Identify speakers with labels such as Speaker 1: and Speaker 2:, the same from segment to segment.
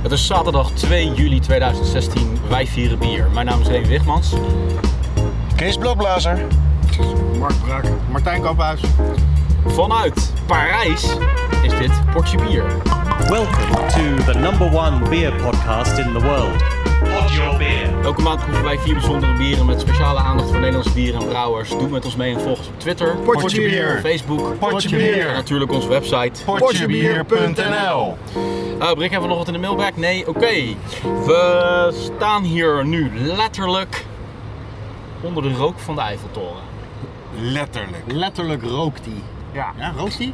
Speaker 1: Het is zaterdag 2 juli 2016. Wij vieren bier. Mijn naam is Leen Wigmans.
Speaker 2: Kees Blokblazer.
Speaker 3: Mark Braken. Martijn Kamphuis.
Speaker 1: Vanuit Parijs is dit Portje Bier.
Speaker 4: Welcome to the number one beer podcast in the world. Pod your beer.
Speaker 1: Elke maand proeven wij vier bijzondere bieren met speciale aandacht voor Nederlandse bieren en brouwers. Doe met ons mee en volg ons op Twitter,
Speaker 2: Portje Bier.
Speaker 1: Facebook,
Speaker 2: Portje
Speaker 1: en
Speaker 2: Bier.
Speaker 1: natuurlijk onze website.
Speaker 2: Portjebier.nl
Speaker 1: Eh Brik, hebben we nog wat in de mailbag? Nee? Oké. We staan hier nu letterlijk onder de rook van de Eiffeltoren.
Speaker 2: Letterlijk.
Speaker 3: Letterlijk rookt hij. Ja, rookt hij?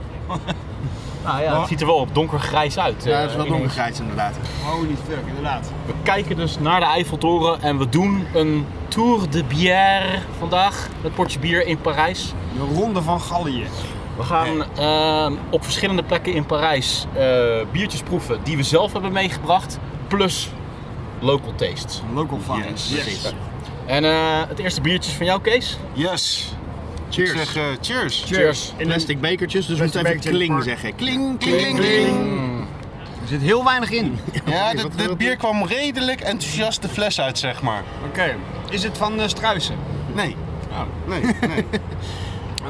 Speaker 1: Nou ja, het ziet er wel op donkergrijs uit.
Speaker 3: Ja,
Speaker 1: eh,
Speaker 3: dat is wel
Speaker 1: ineens.
Speaker 3: donkergrijs inderdaad. Holy fuck, inderdaad.
Speaker 1: We kijken dus naar de Eiffeltoren en we doen een Tour de Bière vandaag met Portje Bier in Parijs.
Speaker 3: De ronde van Gallië.
Speaker 1: We gaan ehm, op verschillende plekken in Parijs eh, biertjes proeven die we zelf hebben meegebracht, plus local tastes.
Speaker 3: Local fire.
Speaker 2: Yes.
Speaker 3: Yes.
Speaker 1: En eh, het eerste biertje is van jou, Kees.
Speaker 2: Yes. Ik
Speaker 3: Cheers.
Speaker 2: zeg eh, cheers.
Speaker 1: Cheers.
Speaker 3: In plastic bekertjes, dus we moeten even kling zeggen. Kling, kling,
Speaker 2: Kling,
Speaker 3: kling.
Speaker 2: kling.
Speaker 3: Er zit heel weinig in.
Speaker 2: Ja, dit, dit bier kwam redelijk enthousiast de fles uit, zeg maar.
Speaker 3: Oké. Is het van eh, Struisen? Oh.
Speaker 2: Nee. Nee, nee.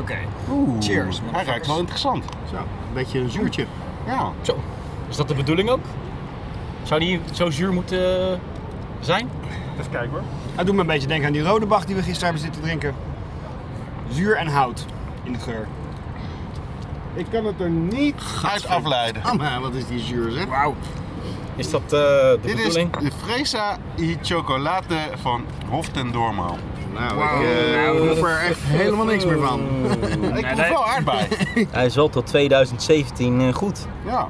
Speaker 3: Oké. Oeh. Cheers.
Speaker 2: Hij ruikt wel interessant.
Speaker 3: Zo, nou. een beetje een zuurtje.
Speaker 2: Ja.
Speaker 1: Zo. Is dat de bedoeling ook? Zou die zo zuur moeten eh, zijn?
Speaker 3: Even kijken hoor. Hij doet me een beetje denken aan die rode bach die we gisteren hebben zitten drinken. Zuur en hout in de geur. Ik kan het er niet
Speaker 2: Uit afleiden.
Speaker 3: Amma, Ah, wat is die zuur zeg. Wauw.
Speaker 1: Is dat eh, de
Speaker 2: Dit is
Speaker 1: bedoeling?
Speaker 2: de Fresa y Chocolate van Hof ten Doormaal.
Speaker 3: Nou,
Speaker 2: Wauw.
Speaker 3: ik, eh, ik proef er echt helemaal niks meer van.
Speaker 2: Ik proef wel aardbei.
Speaker 1: Hij is wel tot 2017 eh, goed.
Speaker 2: Ja.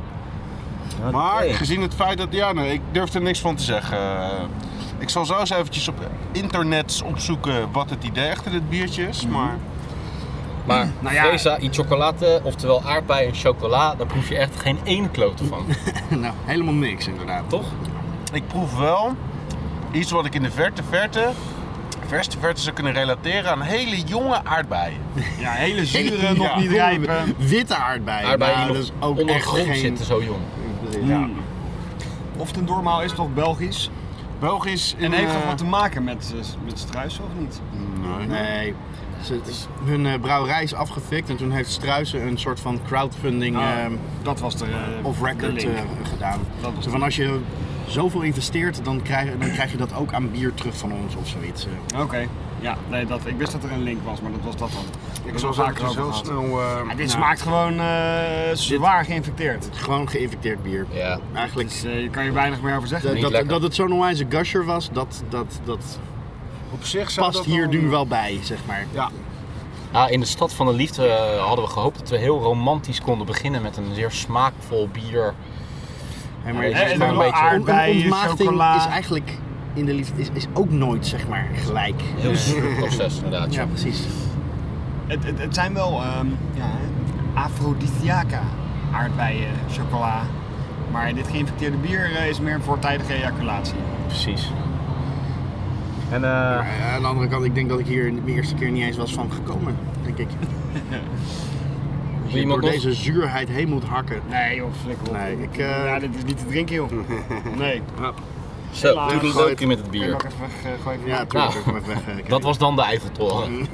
Speaker 1: Oké.
Speaker 2: Maar gezien het feit dat, ja, nee, ik durf er niks van te zeggen. Eh, Ik zal zo eens eventjes op internet opzoeken wat het idee achter dit biertje is.
Speaker 1: Mhm.
Speaker 2: Maar
Speaker 1: Maar
Speaker 3: Nou ja.
Speaker 1: fresa i chocolate, oftewel aardbei en chocola, daar proef je echt geen ene klote van,
Speaker 5: eh,
Speaker 3: nou, helemaal niks inderdaad.
Speaker 1: toch?
Speaker 2: ik proef wel iets wat ik in de verte verte, verste verte zou kunnen relateren aan hele jonge aardbeien.
Speaker 3: Ja, hele zure,
Speaker 2: Ja.
Speaker 3: eh, nog niet rijpe. Witte aardbei.
Speaker 1: Aardbei
Speaker 3: Nou,
Speaker 1: die
Speaker 3: dat
Speaker 1: nog
Speaker 3: is ook
Speaker 1: onder
Speaker 3: echt
Speaker 1: grond
Speaker 3: geen...
Speaker 1: zitten, zo jong.
Speaker 3: Ja. Of ten doormaal is toch Belgisch?
Speaker 2: Belgisch.
Speaker 5: En heeft dat
Speaker 2: eh,
Speaker 5: wat te maken met, eh, met struisen of niet?
Speaker 3: Nee. Ze- hun eh, brouwerij is afgefikt en toen heeft Struisen een soort van crowdfunding
Speaker 5: Ah,
Speaker 3: ehm,
Speaker 5: dat was de. eh,
Speaker 3: of record
Speaker 5: de link.
Speaker 3: eh, gedaan.
Speaker 5: Dat was
Speaker 3: Zo van als je zoveel investeert, dan krijg, dan krijg je dat ook aan bier terug van ons of zoiets. eh.
Speaker 5: Oké, ja, nee, dat, ik wist dat er een link was, maar dat was dat dan.
Speaker 2: Ik zal vaker heel snel. eh,
Speaker 5: dit smaakt gewoon eh, zwaar geïnfecteerd.
Speaker 3: Gewoon geïnfecteerd bier.
Speaker 1: Ja.
Speaker 3: Eigenlijk
Speaker 5: Dus, eh, je kan je weinig meer over zeggen.
Speaker 3: dat,
Speaker 1: niet
Speaker 3: dat,
Speaker 1: lekker.
Speaker 3: dat het zo'n onwijze gusher was, dat, dat, dat
Speaker 2: op zich zou
Speaker 3: past
Speaker 2: dat
Speaker 3: hier
Speaker 2: wel-
Speaker 3: nu wel bij, zeg maar.
Speaker 2: Ja.
Speaker 1: Ah, in de Stad van de Liefde eh, hadden we gehoopt dat we heel romantisch konden beginnen met een zeer smaakvol bier.
Speaker 3: Hey,
Speaker 1: Ja,
Speaker 3: het
Speaker 1: en
Speaker 3: is
Speaker 1: dan
Speaker 3: maar
Speaker 1: wel
Speaker 3: beetje-
Speaker 5: aardbeien,
Speaker 3: on- on- ontmaagding
Speaker 5: chocola.
Speaker 3: is eigenlijk in de liefde is, is ook nooit zeg maar gelijk.
Speaker 1: Heel zuur proces inderdaad.
Speaker 3: Ja,
Speaker 1: joh.
Speaker 3: precies.
Speaker 5: Het, het, het zijn wel ehm ja, afrodisiaca aardbeien, chocola. Maar dit geïnfecteerde bier eh, is meer een voortijdige ejaculatie.
Speaker 1: precies.
Speaker 3: Maar, eh, aan de andere kant, ik denk dat ik hier de eerste keer niet eens was van gekomen, denk ik. Als je door
Speaker 1: iemand nog?
Speaker 3: deze zuurheid heen moet hakken. Nou,
Speaker 5: Nee joh, flikker op.
Speaker 3: Nee, ik, eh,
Speaker 5: Ja, dit is niet te drinken joh. Nee.
Speaker 1: Zo,
Speaker 5: Helaas.
Speaker 1: doe een leukje met het
Speaker 5: Kun je
Speaker 1: bier.
Speaker 5: hem ook even weg, eh, gooien?
Speaker 3: Ja,
Speaker 1: Nou.
Speaker 3: tuurlijk. ik moet weg, eh, kijken.
Speaker 1: Dat was dan de Eiffeltoren.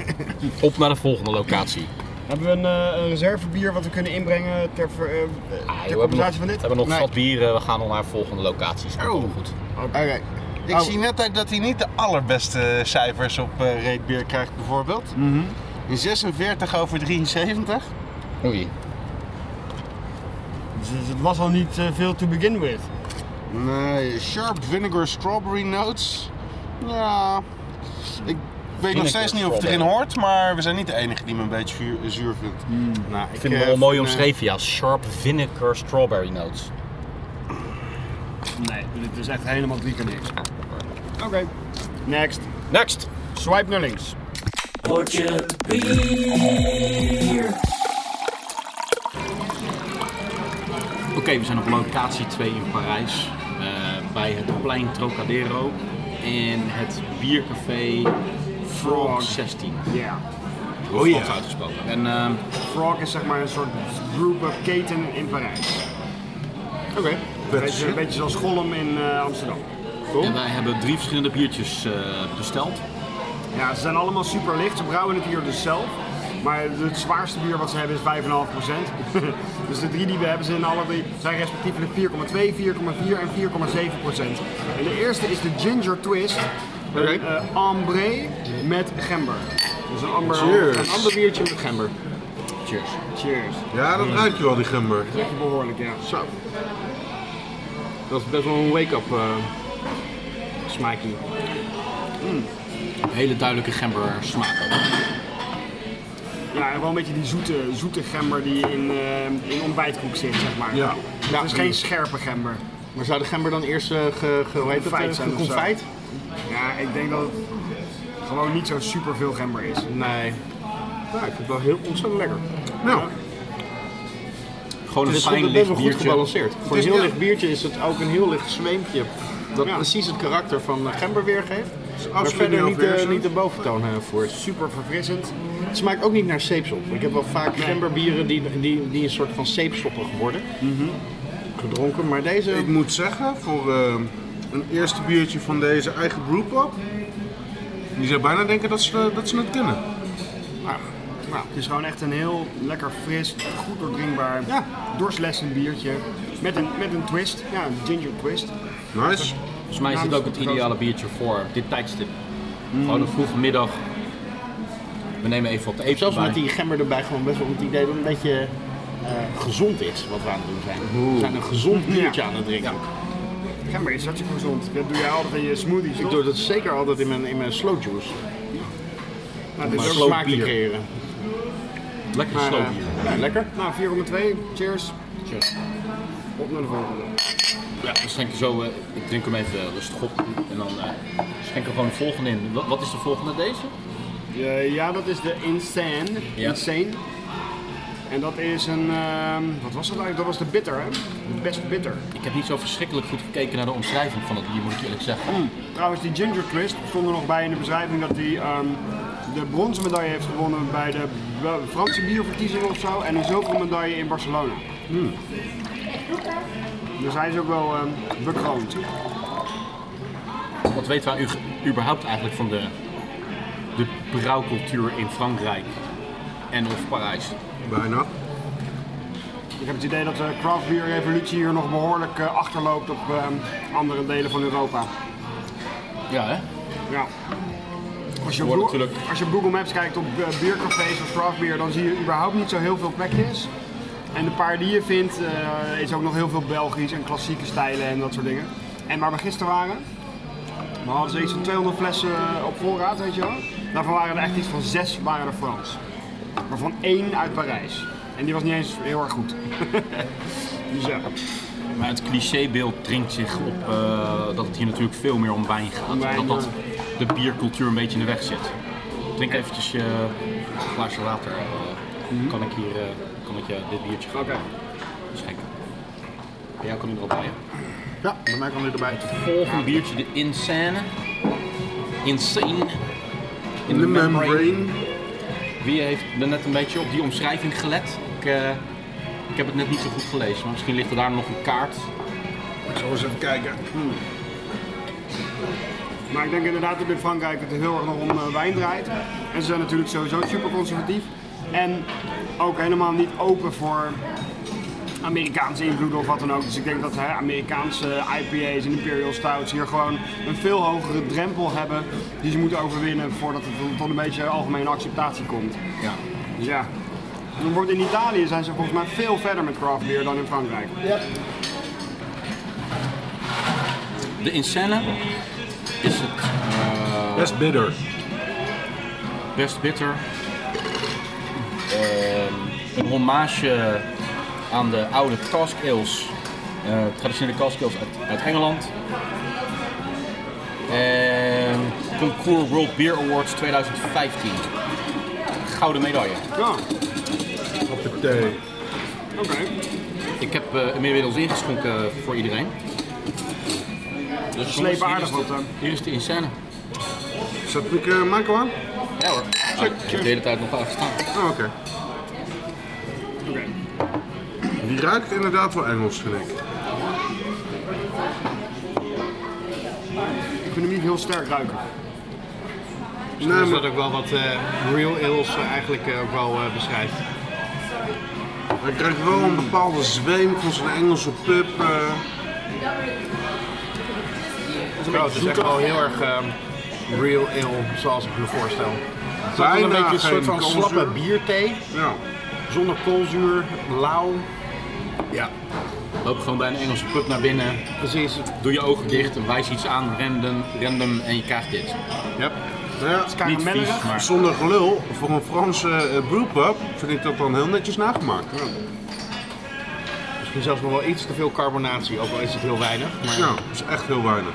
Speaker 1: Op naar de volgende locatie.
Speaker 5: Hebben we een, eh, een reservebier wat we kunnen inbrengen ter, ver- eh,
Speaker 1: Ah,
Speaker 5: ter
Speaker 1: joh, we hebben nog,
Speaker 5: compensatie van
Speaker 1: we
Speaker 5: dit?
Speaker 1: hebben nog
Speaker 3: Nee.
Speaker 1: zat bieren, we gaan al naar de volgende locaties. Komt allemaal goed.
Speaker 3: Oké.
Speaker 2: Ik
Speaker 3: Oh.
Speaker 2: zie net uit dat hij niet de allerbeste cijfers op eh reetbier krijgt, bijvoorbeeld. Een 46 over 73.
Speaker 1: Oei.
Speaker 5: Dus het was al niet eh, veel to begin with.
Speaker 2: Nee, Sharp Vinegar Strawberry Notes. Ja, ik weet nog steeds niet of het erin
Speaker 1: strawberry.
Speaker 2: hoort, maar we zijn niet de enige die me een beetje vuur- zuur vindt.
Speaker 3: Nou, ik
Speaker 1: Ik vind het
Speaker 3: eh,
Speaker 1: wel mooi
Speaker 3: eh,
Speaker 1: omschreven, ja. Sharp vinegar strawberry notes.
Speaker 5: Nee, dit is echt helemaal drie keer niks. Oké, next.
Speaker 1: Next!
Speaker 5: Swipe naar links.
Speaker 1: Oké, we zijn op locatie 2 in Parijs. eh, bij het plein Trocadero. En het biercafé Frog 16.
Speaker 5: Ja.
Speaker 1: Oh ja. uitgesproken. En ehm,
Speaker 5: Frog is zeg maar een soort group of keten in Parijs. Oké.
Speaker 1: we
Speaker 5: Een beetje, een beetje zoals Gollum in eh, Amsterdam. Toch?
Speaker 1: En wij hebben drie verschillende biertjes eh, besteld.
Speaker 5: Ja, ze zijn allemaal super licht. Ze brouwen het hier dus zelf. Maar het zwaarste bier wat ze hebben is 5,5%. dus de drie die we hebben zijn alle drie zijn respectievelijk 4,2, 4,4 en 4,7%. En de eerste is de Ginger Twist. Een eh, ambre met gember. Dus een amber,
Speaker 2: Cheers.
Speaker 5: een ander biertje met gember.
Speaker 1: Cheers.
Speaker 5: Cheers.
Speaker 2: Ja, dat ruikt je wel, die gember.
Speaker 5: Dat is behoorlijk, ja.
Speaker 2: Zo.
Speaker 5: Dat is best wel een wake-up eh smaakie.
Speaker 1: Hele duidelijke gember smaak.
Speaker 5: Ja, wel een beetje die zoete, zoete gember die in, eh in ontbijtkoek zit, zeg maar.
Speaker 2: Ja.
Speaker 5: Het is geen scherpe gember.
Speaker 6: Maar zou de gember dan eerst eh, ge, ge, hoe heet dat,
Speaker 5: Confijt
Speaker 6: eh,
Speaker 5: zijn of zo.
Speaker 6: geconfijt?
Speaker 5: Ja, ik denk dat het gewoon niet zo super veel gember is.
Speaker 6: Nee. Ja, ik vind het wel heel ontzettend lekker.
Speaker 2: Nou,
Speaker 1: Gewoon een
Speaker 6: Het is best
Speaker 1: fijn
Speaker 6: wel
Speaker 1: licht
Speaker 6: goed
Speaker 1: biertje.
Speaker 6: gebalanceerd. Voor een
Speaker 2: is
Speaker 6: heel
Speaker 2: niet-
Speaker 6: licht biertje is het ook een heel licht zweempje. Dat
Speaker 5: Ja.
Speaker 6: precies het karakter van eh, gember weergeeft. Maar
Speaker 2: absoluut
Speaker 6: verder
Speaker 2: niet
Speaker 6: niet, eh,
Speaker 2: overheersend.
Speaker 6: niet de boventoon eh, voert.
Speaker 5: Super verfrissend.
Speaker 6: Het smaakt ook niet naar zeepsop. Ik heb wel vaak gemberbieren die, die, die een soort van zeepsoppig worden. Gedronken, maar deze...
Speaker 2: ik moet zeggen, voor eh, een eerste biertje van deze eigen brewpub... Je zou bijna denken dat ze, dat ze het kennen.
Speaker 5: Nou, Het is gewoon echt een heel lekker fris, goed doordringbaar,
Speaker 6: Ja.
Speaker 5: dorslessend biertje. Met een, met een twist, ja, een ginger twist.
Speaker 2: Nice.
Speaker 1: Volgens mij is dit ook het ideale biertje voor dit tijdstip.
Speaker 6: Mm.
Speaker 1: Gewoon een vroege middag. We nemen even op de eet
Speaker 6: Zelfs
Speaker 1: erbij.
Speaker 6: met die gember erbij gewoon best wel het idee dat het een beetje eh, gezond is wat we aan het doen zijn. We zijn een gezond biertje aan het drinken.
Speaker 5: Gember is hartstikke gezond. Dat doe jij altijd in je smoothies,
Speaker 6: Ik
Speaker 5: toch?
Speaker 6: doe dat zeker altijd in mijn, in mijn slow juice.
Speaker 5: Nou, dit
Speaker 6: Dus
Speaker 5: is
Speaker 6: ook
Speaker 5: ook
Speaker 6: smaak te
Speaker 1: bier.
Speaker 6: creëren.
Speaker 1: Lekker
Speaker 5: Maar,
Speaker 1: sloop
Speaker 5: eh,
Speaker 1: hier.
Speaker 6: Ja, lekker.
Speaker 5: Nou, 4,2. Cheers. Op naar de volgende.
Speaker 1: Ja, we schenken zo, eh, ik drink hem even rustig op. En dan eh, schenken we gewoon de volgende in. Wat, wat is de volgende deze?
Speaker 5: Eh, ja, dat is de Insane.
Speaker 1: Ja.
Speaker 5: Insane. En dat is een, ehm, wat was dat eigenlijk? Dat was de bitter, hè? De best bitter.
Speaker 1: Ik heb niet zo verschrikkelijk goed gekeken naar de omschrijving van het bier, moet ik eerlijk zeggen.
Speaker 5: Trouwens, die Ginger Twist stond er nog bij in de beschrijving dat hij ehm, de bronzen medaille heeft gewonnen bij de B- Franse bierverkiezing of zo. En een zilveren medaille in Barcelona. Dus hij is ook wel ehm, bekroond.
Speaker 1: Wat weten wij u- überhaupt eigenlijk van de, de brouwcultuur in Frankrijk en of Parijs?
Speaker 2: Bijna.
Speaker 5: Ik heb het idee dat de craft beer revolutie hier nog behoorlijk eh, achterloopt op ehm, andere delen van Europa.
Speaker 1: Ja, hè?
Speaker 5: Ja. Als je, op
Speaker 1: Wordt
Speaker 5: Google-
Speaker 1: natuurlijk-
Speaker 5: als je op Google Maps kijkt op eh, biercafés of craft beer, dan zie je überhaupt niet zo heel veel plekjes. En de paar die je vindt, eh, is ook nog heel veel Belgisch en klassieke stijlen en dat soort dingen. En waar we gisteren waren, we hadden zoiets van 200 flessen eh, op voorraad, weet je wel. Daarvan waren er echt iets van zes waren er Frans. Waarvan één uit Parijs. En die was niet eens heel erg goed. dus ja,
Speaker 1: Maar het clichébeeld dringt zich op eh, dat het hier natuurlijk veel meer om wijn gaat.
Speaker 5: Om wijn,
Speaker 1: dat dat de biercultuur een beetje in de weg zit. Drink eventjes je glaasje water. eh, Kan ik hier eh, kan ik je dit biertje gaan
Speaker 5: Oké.
Speaker 1: schenken? Bij jou kan ik er al bij. hè?
Speaker 6: Ja, bij mij kan dit erbij.
Speaker 1: Volgende biertje, de Insane. Insane. In
Speaker 2: De membrane.
Speaker 1: Wie heeft er net een beetje op die omschrijving gelet? Ik, eh, ik heb het net niet zo goed gelezen, maar misschien ligt er daar nog een kaart.
Speaker 2: Ik zal eens even kijken.
Speaker 5: Maar ik denk inderdaad dat in Frankrijk het heel erg nog om eh, wijn draait. En ze zijn natuurlijk sowieso super conservatief. En ook helemaal niet open voor Amerikaanse invloeden of wat dan ook. Dus ik denk dat hè, Amerikaanse eh, IPA's en Imperial Stouts hier gewoon een veel hogere drempel hebben. Die ze moeten overwinnen voordat het tot een beetje algemene acceptatie komt.
Speaker 1: Ja.
Speaker 5: Dus ja. Dan wordt in Italië zijn ze volgens mij veel verder met craft beer dan in Frankrijk.
Speaker 1: De Insane is het eh,
Speaker 2: Best bitter.
Speaker 1: best bitter. Ehm, een hommage aan de oude cask ales, eh, traditionele cask ales uit, uit Engeland. En Concours World Beer Awards 2015. Gouden medaille.
Speaker 5: Ja, oké.
Speaker 2: Op de thee.
Speaker 1: Ik heb eh inmiddels ingeschonken voor iedereen. Dus
Speaker 5: Sleepaardig
Speaker 1: jongens,
Speaker 5: wat,
Speaker 1: Hier is de, hier is de insane.
Speaker 2: Zet ik eh Marco aan?
Speaker 1: Ja hoor. Ah, ik heb de hele tijd nog afgestaan.
Speaker 2: Oh, oké. Die ruikt inderdaad wel Engels, vind ik.
Speaker 5: aerodynamiek heel sterk ruiken.
Speaker 7: Nou, is dat ook wel wat eh, real ales eh, eigenlijk eh, ook wel eh, beschrijft.
Speaker 2: Hij krijgt wel een bepaalde zweem van zijn Engelse pub. eh.
Speaker 7: Oh, het is echt wel heel erg ehm, real ale zoals ik me voorstel. Het is wel
Speaker 2: Bijna
Speaker 7: een beetje een
Speaker 2: geen
Speaker 7: soort van
Speaker 2: koolzuur.
Speaker 7: slappe bierthee.
Speaker 2: ja.
Speaker 7: Zonder koolzuur, lauw.
Speaker 1: Ja. Loop gewoon bij een Engelse pub naar binnen.
Speaker 7: Precies.
Speaker 1: Doe je ogen dicht en wijs iets aan, random, random en je krijgt dit.
Speaker 2: Ja. Nou ja,
Speaker 1: Niet vies,
Speaker 5: karamellerig.
Speaker 1: maar...
Speaker 2: Zonder gelul, voor een Franse eh, brewpub vind ik dat dan heel netjes nagemaakt. Ja.
Speaker 7: Misschien zelfs nog wel iets te veel carbonatie, ook al is het heel weinig. Maar
Speaker 2: Nou, dat is echt heel weinig.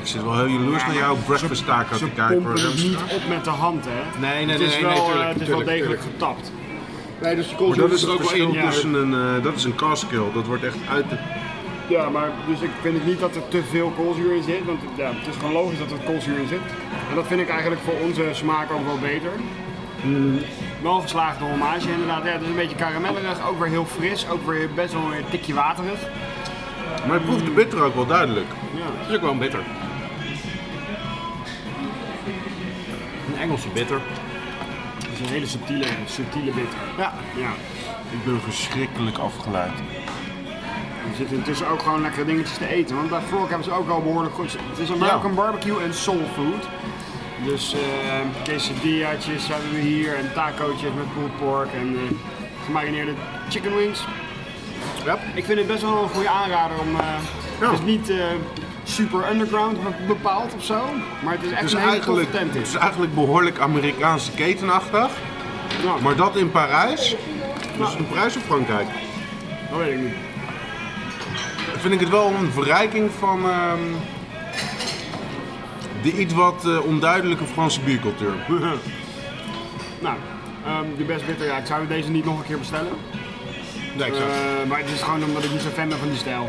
Speaker 2: Ik zit wel heel jaloers naar jouw breakfast taco te kijken.
Speaker 5: Pompen
Speaker 2: hoor.
Speaker 5: het niet op met de hand, hè?
Speaker 7: nee,
Speaker 5: het is
Speaker 7: nee,
Speaker 5: wel,
Speaker 7: nee,
Speaker 5: eh,
Speaker 7: tuurlijk,
Speaker 5: Het is wel
Speaker 7: tuurlijk,
Speaker 5: degelijk getapt.
Speaker 7: nee, dus de
Speaker 2: Maar
Speaker 7: koolzuur
Speaker 2: dat is
Speaker 7: is er
Speaker 2: het
Speaker 7: ook wel
Speaker 2: verschil
Speaker 7: in.
Speaker 5: ja.
Speaker 2: tussen een, eh, dat is een caskill, dat wordt echt uit de...
Speaker 5: Ja, maar dus ik vind het niet dat er te veel koolzuur in zit, want ja, het is gewoon logisch dat er koolzuur in zit. En dat vind ik eigenlijk voor onze smaak ook wel beter. Mm, Wel geslaagde hommage inderdaad. Ja, het is een beetje karamellerig, ook weer heel fris, ook weer best wel weer een tikje waterig.
Speaker 2: Maar je proeft de bitter ook wel duidelijk.
Speaker 7: Het is ook wel een bitter. Een Engelse bitter.
Speaker 5: Het is een hele subtiele, subtiele bitter.
Speaker 7: Ja.
Speaker 5: Ja,
Speaker 2: Ik ben verschrikkelijk afgeleid.
Speaker 5: er zitten intussen ook gewoon lekkere dingetjes te eten, want bij Frog hebben ze ook al behoorlijk goed. Het is American barbecue en soul food. Dus eh quesadilla's hebben we hier en tacootjes met pulled pork en eh, gemarineerde chicken wings.
Speaker 2: Ja.
Speaker 5: Ik vind het best wel een goede aanrader om. eh,
Speaker 2: Ja.
Speaker 5: Het is niet eh, super underground be- bepaald of zo, maar het is echt
Speaker 2: Het is,
Speaker 5: een hele toffe
Speaker 2: eigenlijk,
Speaker 5: tent.
Speaker 2: het
Speaker 5: Is.
Speaker 2: is eigenlijk behoorlijk Amerikaanse ketenachtig,
Speaker 5: Ja,
Speaker 2: maar dat in Parijs, dat is een prijs op Frankrijk.
Speaker 5: dat weet ik niet.
Speaker 2: vind ik het wel een verrijking van ehm, de iets wat eh, onduidelijke Franse biercultuur.
Speaker 5: Nou, ehm, de best bitter, ja, ik zou deze niet nog een keer bestellen.
Speaker 2: Nee, ik zou-
Speaker 5: Eh, maar het is gewoon omdat ik niet zo fan ben van die stijl.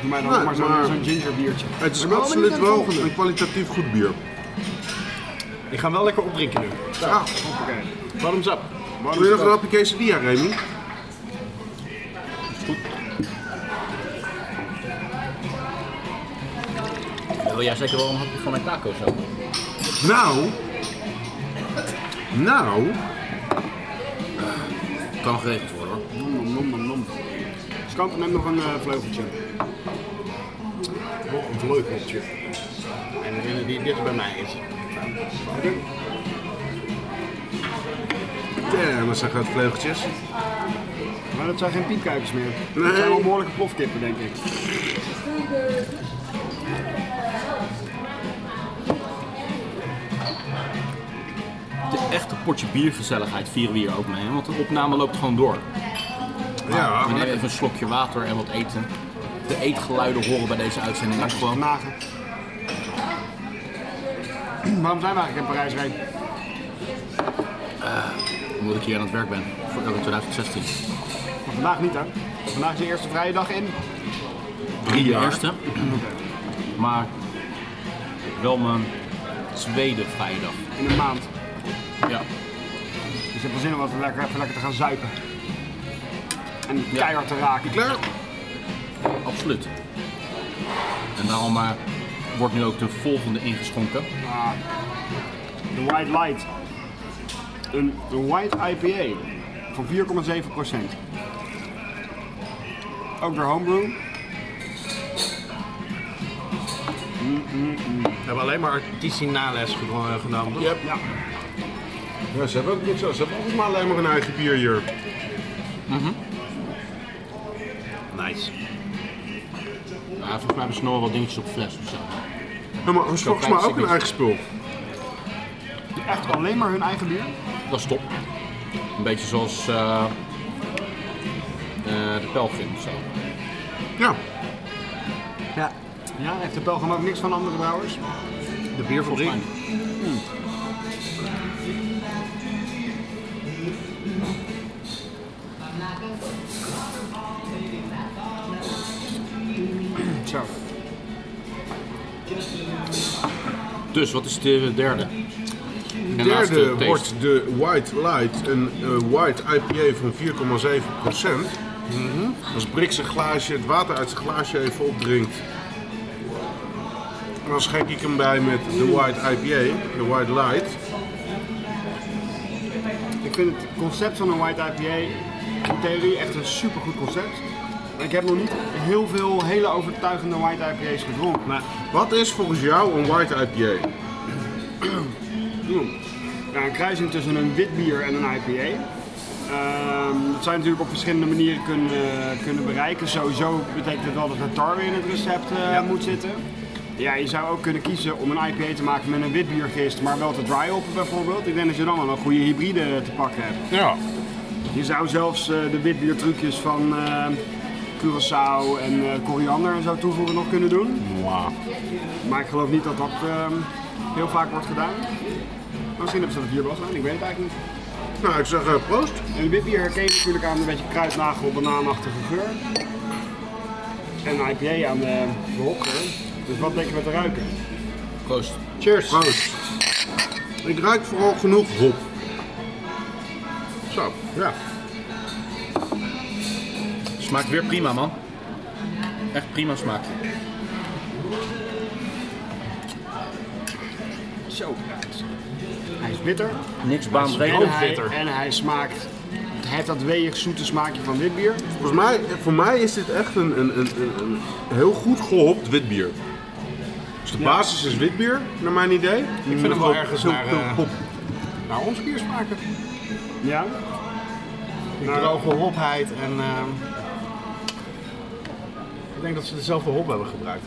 Speaker 5: Doe mij dan
Speaker 2: Nee,
Speaker 5: ook maar zo'n
Speaker 2: maar-
Speaker 5: zo'n ginger biertje.
Speaker 2: het is
Speaker 5: ben wel
Speaker 2: absoluut
Speaker 5: benieuwd naar het
Speaker 2: wel een kwalitatief goed bier.
Speaker 7: Ik ga hem wel lekker opdrinken nu.
Speaker 2: Ja.
Speaker 5: Oké.
Speaker 7: Bottoms up.
Speaker 2: Wil je nog een hapje quesadilla, Remy?
Speaker 1: Wil jij zeker wel een hapje van mijn taco zo?
Speaker 2: Nou, nou,
Speaker 1: Kan geregeld worden hoor.
Speaker 5: Nom nom nom nom nom. Skant, neem nog een eh, vleugeltje.
Speaker 7: Nog een vleugeltje. En degene die dicht bij mij is.
Speaker 2: damn, dat zijn grote vleugeltjes.
Speaker 5: Maar dat zijn geen piepkuikers meer. Dat
Speaker 2: Nee.
Speaker 5: zijn wel behoorlijke plofkippen, denk ik.
Speaker 1: De echte potje biergezelligheid vieren we hier ook mee, hè, want de opname loopt gewoon door.
Speaker 2: Ja, Ah,
Speaker 1: We nemen even een slokje water en wat eten. De eetgeluiden horen bij deze uitzending ook gewoon.
Speaker 5: Nagen. Waarom zijn we eigenlijk in Parijs rijden?
Speaker 1: Omdat ik hier aan het werk ben voor Euro 2016.
Speaker 5: Maar vandaag niet, hè? Vandaag is de eerste vrije dag in.
Speaker 1: Drie jaar. Eerste. Maar wel mijn tweede vrijdag.
Speaker 5: In een maand.
Speaker 1: Ja.
Speaker 5: Dus ik heb wel zin om wat lekker, even lekker te gaan zuipen. En keihard te raken.
Speaker 2: klaar.
Speaker 1: Absoluut. En daarom eh, wordt nu ook de volgende ingeschonken.
Speaker 5: De White Light. Een White IPA van 4,7%. Ook door Homebrew. Mm,
Speaker 7: We hebben alleen maar artisanales geno- eh, genomen. toch?
Speaker 5: Ja.
Speaker 2: Ja, ze hebben ook niks, ze hebben allemaal alleen maar een eigen bier hier.
Speaker 7: Nice.
Speaker 1: Ja, volgens mij hebben ze nog wel wat dingetjes op fles of zo.
Speaker 2: Ja, maar het is volgens mij ook een eigen spul.
Speaker 5: Echt alleen maar hun eigen bier.
Speaker 1: Dat is top. Een beetje zoals eh, eh, de pelgrim of zo.
Speaker 2: Ja,
Speaker 5: Ja, heeft de Pelgrim ook niks van andere brouwers.
Speaker 7: De bierfabriek. Hmm.
Speaker 1: Volgens
Speaker 5: Zo.
Speaker 1: mij. Dus wat is de derde?
Speaker 2: de
Speaker 1: En naast
Speaker 2: derde
Speaker 1: taste.
Speaker 2: wordt de White Light, een eh, White IPA van 4,7
Speaker 1: Mhm.
Speaker 2: Als Brik zijn glaasje, het water uit zijn glaasje even opdrinkt. Dan schenk ik hem bij met
Speaker 1: Mm.
Speaker 2: de White IPA, de White Light.
Speaker 5: Ik vind het concept van een white IPA in theorie echt een supergoed concept. Ik heb nog niet heel veel hele overtuigende white IPA's gedronken. Maar
Speaker 2: Wat is volgens jou een White IPA?
Speaker 5: ja, een kruising tussen een wit bier en een IPA. Ehm, dat zou je natuurlijk op verschillende manieren kunnen, kunnen bereiken. Sowieso betekent het wel dat er tarwe in het recept eh, moet zitten. Ja, je zou ook kunnen kiezen om een IPA te maken met een wit biergist, maar wel te dry hoppen bijvoorbeeld. Ik denk dat je dan wel een goede hybride te pakken hebt.
Speaker 2: Ja.
Speaker 5: Je zou zelfs eh, de witbiertrucjes van eh, Curaçao en eh, koriander en zo toevoegen nog kunnen doen. Maar ik geloof niet dat dat ehm, heel vaak wordt gedaan. Maar misschien hebben ze dat hier wel gedaan, ik weet het eigenlijk niet.
Speaker 2: Nou, ik zeg eh, proost.
Speaker 5: En de witbier herken je natuurlijk aan een beetje kruidnagel, banaanachtige geur. En een IPA aan de hokken. Dus wat denken we te ruiken?
Speaker 7: Proost.
Speaker 2: Cheers. Proost. Ik ruik vooral genoeg hop. Zo, ja.
Speaker 7: Smaakt weer prima, man. Echt prima smaakje.
Speaker 5: Zo. Hij is bitter.
Speaker 7: Niks
Speaker 5: En
Speaker 7: baanbrekend.
Speaker 5: hij, en hij smaakt. Hij heeft dat weeg zoete smaakje van witbier.
Speaker 2: Volgens mij, voor mij is dit echt een, een, een, een, een heel goed gehopt witbier. Dus de basis is witbier, naar mijn idee. Ik vind
Speaker 7: hem wel ergens naar, eh,
Speaker 2: naar
Speaker 7: Nou,
Speaker 2: ons bier smaken.
Speaker 5: Ja.
Speaker 7: Naar droge hopheid en... ehm, ik denk dat ze dezelfde hop hebben gebruikt.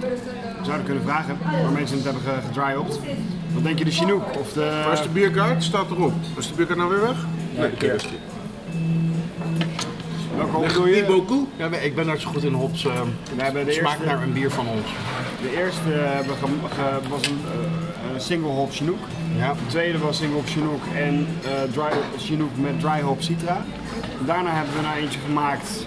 Speaker 5: We zouden kunnen vragen waar mensen het hebben ge- gedry-hopt. Wat denk je de Chinook of
Speaker 2: Waar is
Speaker 5: de...
Speaker 2: de bierkaart? Staat erop. Is de bierkaart nou weer weg? Nee, dat is die.
Speaker 5: Welke hop bedoel je?
Speaker 2: Boku?
Speaker 7: Ja, maar ik ben daar zo goed in hops. ehm,
Speaker 5: We hebben de
Speaker 7: het smaakt
Speaker 5: eerste,
Speaker 7: naar een bier van ons.
Speaker 5: de eerste eh, hebben ge- ge- was een eh, eh, single hop Chinook.
Speaker 7: Ja.
Speaker 5: De tweede was single hop Chinook en eh dry, Chinook met dry hop Citra. Daarna hebben we nou eentje gemaakt.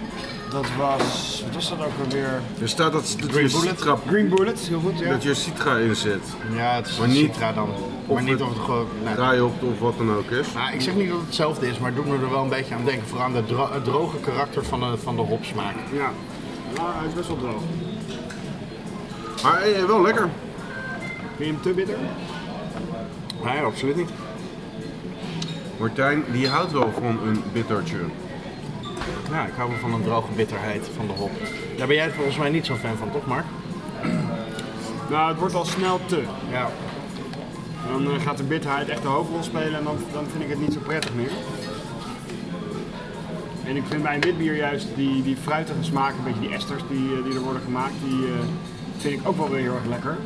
Speaker 5: Dat was... Wat was dat ook alweer?
Speaker 2: Er staat dat, dat je
Speaker 7: Bullet.
Speaker 2: citra,
Speaker 5: Green Bullet, heel goed. Ja.
Speaker 2: dat je citra in zit.
Speaker 7: Ja, het is
Speaker 2: Maar
Speaker 7: een
Speaker 2: niet-
Speaker 7: citra dan.
Speaker 2: of
Speaker 7: maar niet
Speaker 2: het-
Speaker 7: of het gewoon... nee.
Speaker 2: Draai op of wat dan ook is.
Speaker 7: Nou, ik zeg niet dat het hetzelfde is, maar het doet me er wel een beetje aan denken. Vooral aan de dro- het droge karakter van de, van de hopsmaak.
Speaker 5: ja. Nou, hij is best wel droog.
Speaker 2: Maar eh, wel lekker.
Speaker 5: Vind je hem te bitter?
Speaker 7: Nee, absoluut niet.
Speaker 2: Martijn, die houdt wel van een bittertje.
Speaker 7: Ja, ik hou wel van een droge bitterheid van de hop. Daar ben jij volgens mij niet zo'n fan van, toch Mark?
Speaker 5: Nou, het wordt al snel te.
Speaker 7: Ja.
Speaker 5: Dan eh, gaat de bitterheid echt de hoofdrol spelen en dan, dan vind ik het niet zo prettig meer. En ik vind bij een wit bier juist die, die fruitige smaak, een beetje die esters die, eh, die er worden gemaakt, die eh, vind ik ook wel weer heel erg lekker.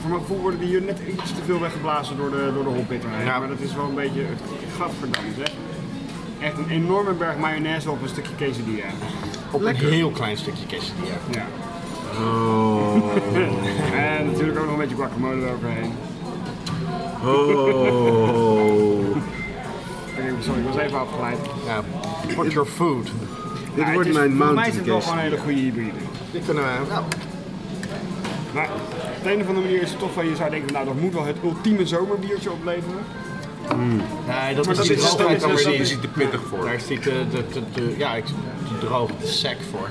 Speaker 5: Voor mijn gevoel worden die hier net iets te veel weggeblazen door de, door de hopbitterheid.
Speaker 7: Ja.
Speaker 5: Maar dat is wel een beetje, gadverdamme zeg. Echt een enorme berg mayonaise op een stukje quesadilla.
Speaker 7: Op een heel klein stukje quesadilla.
Speaker 5: Ja. en natuurlijk ook nog een beetje guacamole eroverheen.
Speaker 2: Oh.
Speaker 5: Oké, sorry, ik was even afgeleid.
Speaker 7: Ja. What's your food?
Speaker 2: Dit
Speaker 5: Ja,
Speaker 2: wordt
Speaker 5: het is-
Speaker 2: mijn
Speaker 5: voor mij is
Speaker 2: mountain
Speaker 5: het wel gewoon eh,
Speaker 2: case.
Speaker 5: een hele goede hybride.
Speaker 7: Die kunnen we... Nou,
Speaker 5: Maar op de een of andere manier is het toch van je zou denken, nou dat moet wel het ultieme zomerbiertje opleveren.
Speaker 7: nee, dat
Speaker 5: dat
Speaker 7: is
Speaker 5: is- dat is- dat
Speaker 7: niet
Speaker 5: is-
Speaker 7: te pittig voor. Daar is eh, die te, te, te, te- ja, ik, te droog, te sec voor.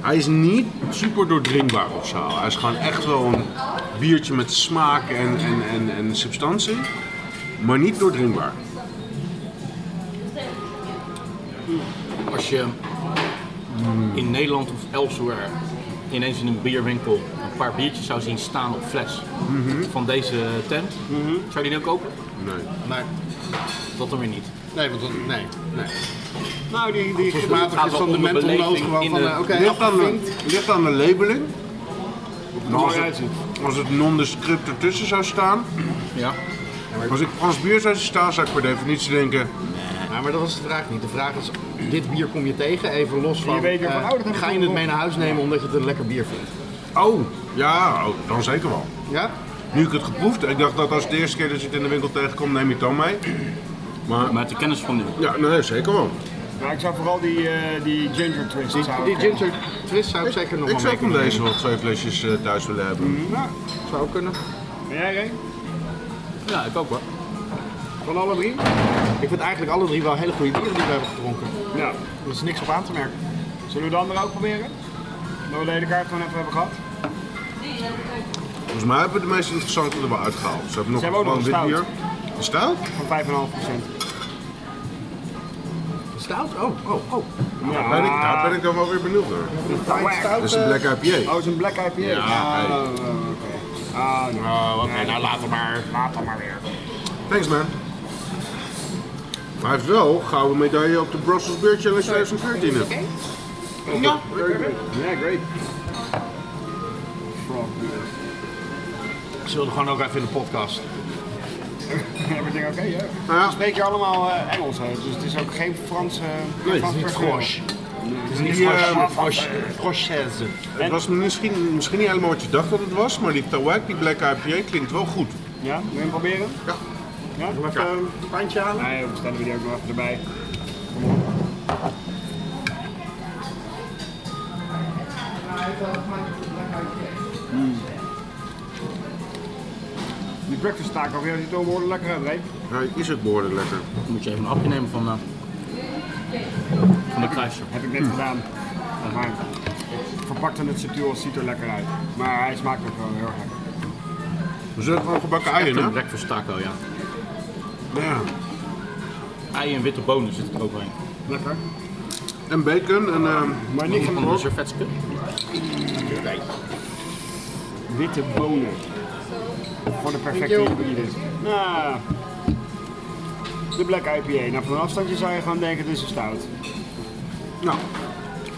Speaker 2: Hij is niet super doordringbaar of zo. Hij is gewoon echt wel een biertje met smaak en, en, en, en substantie. Maar niet doordringbaar.
Speaker 1: Als je mm, in Nederland of elsewhere ineens in een bierwinkel een paar biertjes zou zien staan op fles van deze tent, zou je die dan kopen?
Speaker 2: Nee.
Speaker 7: Nee,
Speaker 1: Dat dan weer niet.
Speaker 7: nee, want dat... Nee, nee.
Speaker 5: Nou, die, die,
Speaker 7: Gevoelsmatig
Speaker 1: gaat
Speaker 7: is
Speaker 1: wel
Speaker 7: dan de
Speaker 1: om de
Speaker 7: mental note
Speaker 1: beleving
Speaker 7: gewoon
Speaker 1: in
Speaker 7: van...
Speaker 1: de-
Speaker 7: eh, Oké,
Speaker 2: Ligt aan, de, ligt aan de labeling. Maar als,
Speaker 5: mooi
Speaker 2: het,
Speaker 5: uitziet.
Speaker 2: als het nondescript ertussen zou staan.
Speaker 1: Ja.
Speaker 2: Als ik Frans bier zou staan, zou ik per definitie denken.
Speaker 7: Ja, maar dat is de vraag niet. De vraag is, dit bier kom je tegen, even los van...
Speaker 5: Je weet weer van,
Speaker 7: eh,
Speaker 5: oh, dat heb ik
Speaker 7: ga je het
Speaker 5: nog.
Speaker 7: mee naar huis nemen omdat je het een lekker bier vindt?
Speaker 2: Oh, ja, oh, dan zeker wel.
Speaker 7: Ja?
Speaker 2: Nu ik het geproefd heb, ik dacht dat als het de eerste keer dat je het in de winkel tegenkomt, neem je het dan mee. Maar
Speaker 1: Maar de kennis van nu.
Speaker 2: ja, nee, zeker wel.
Speaker 5: Nou, ik zou vooral die, eh, die ginger twist
Speaker 7: Die,
Speaker 5: zou
Speaker 7: die
Speaker 5: ik-
Speaker 7: ginger twist zou ik, zeker nog
Speaker 2: Ik
Speaker 7: wel
Speaker 2: zou
Speaker 7: mee
Speaker 2: van
Speaker 7: kunnen
Speaker 2: deze wel twee flesjes eh, thuis willen hebben.
Speaker 5: Nou,
Speaker 7: nemen. Zou ook kunnen.
Speaker 5: ben jij Ray?
Speaker 1: Ja, ik ook hoor.
Speaker 5: Van alle drie?
Speaker 7: Ik vind eigenlijk alle drie wel hele goede bieren die we hebben gedronken.
Speaker 5: Nou,
Speaker 7: Er is niks op aan te merken.
Speaker 5: zullen we de andere ook proberen? Dat we de hele kaart gewoon even hebben gehad.
Speaker 2: Volgens mij hebben we de meest interessante er wel uitgehaald. Ze hebben nog
Speaker 5: Ze hebben ook nog
Speaker 2: gewoon
Speaker 5: een
Speaker 2: wit bier. Een stout?
Speaker 5: Van 5,5%.
Speaker 2: Stout? Oh, oh, oh.
Speaker 5: Ja.
Speaker 2: Ben ik, daar ben ik dan wel weer benieuwd naar.
Speaker 5: Wack.
Speaker 2: Dat is een Black IPA.
Speaker 5: Oh, het is een Black IPA.
Speaker 2: Ja,
Speaker 5: Ah,
Speaker 2: hey.
Speaker 5: oké. Ah, nee.
Speaker 2: oké, nou later maar.
Speaker 5: Laat dan maar weer.
Speaker 2: Thanks man. Maar hij heeft wel gouden medaille op de Brussels Beer Challenge 2014. hè? Ja,
Speaker 5: Ja, great.
Speaker 1: Ze wilden gewoon ook even in de podcast.
Speaker 5: Everything oké, ja. We
Speaker 2: Nou ja,
Speaker 5: spreken allemaal eh, Engels, hè, dus het is ook geen Frans... eh,
Speaker 2: het is
Speaker 5: Frans
Speaker 2: niet
Speaker 5: personeel.
Speaker 2: Frosch.
Speaker 5: niet
Speaker 2: Die,
Speaker 5: Frans.
Speaker 2: eh,
Speaker 5: Frans.
Speaker 1: Prochaise.
Speaker 2: het was misschien, misschien niet helemaal wat je dacht dat het was, maar die Tawak, die Black IPA, klinkt wel goed.
Speaker 5: Ja, wil je hem proberen?
Speaker 2: Ja.
Speaker 5: Ja, doe even een pandje aan. Nee, dan bestellen we die ook nog even erbij. Mm. Die breakfast taak alweer ziet er behoorlijk lekker uit, hè?
Speaker 2: Nou, is het behoorlijk lekker.
Speaker 1: Moet je even een hapje nemen van, eh, van de kruiser.
Speaker 5: Heb ik net gedaan. Maar ik verpakte het subtiel, het ziet er lekker uit. Maar hij smaakt ook wel heel erg lekker.
Speaker 2: We zetten gewoon gebakken eieren,
Speaker 1: Een
Speaker 2: hè?
Speaker 1: breakfast taco, ja.
Speaker 2: Ja.
Speaker 1: Ei en witte bonen zit er ook bij.
Speaker 5: Lekker.
Speaker 2: En bacon en... ehm,
Speaker 5: Maar niet
Speaker 1: Van de
Speaker 5: genoeg.
Speaker 1: servetsken.
Speaker 5: Witte bonen. Voor de perfecte hybride. Nou, de Black IPA. Nou, van een afstandje zou je gewoon denken, dit is een stout.
Speaker 2: nou,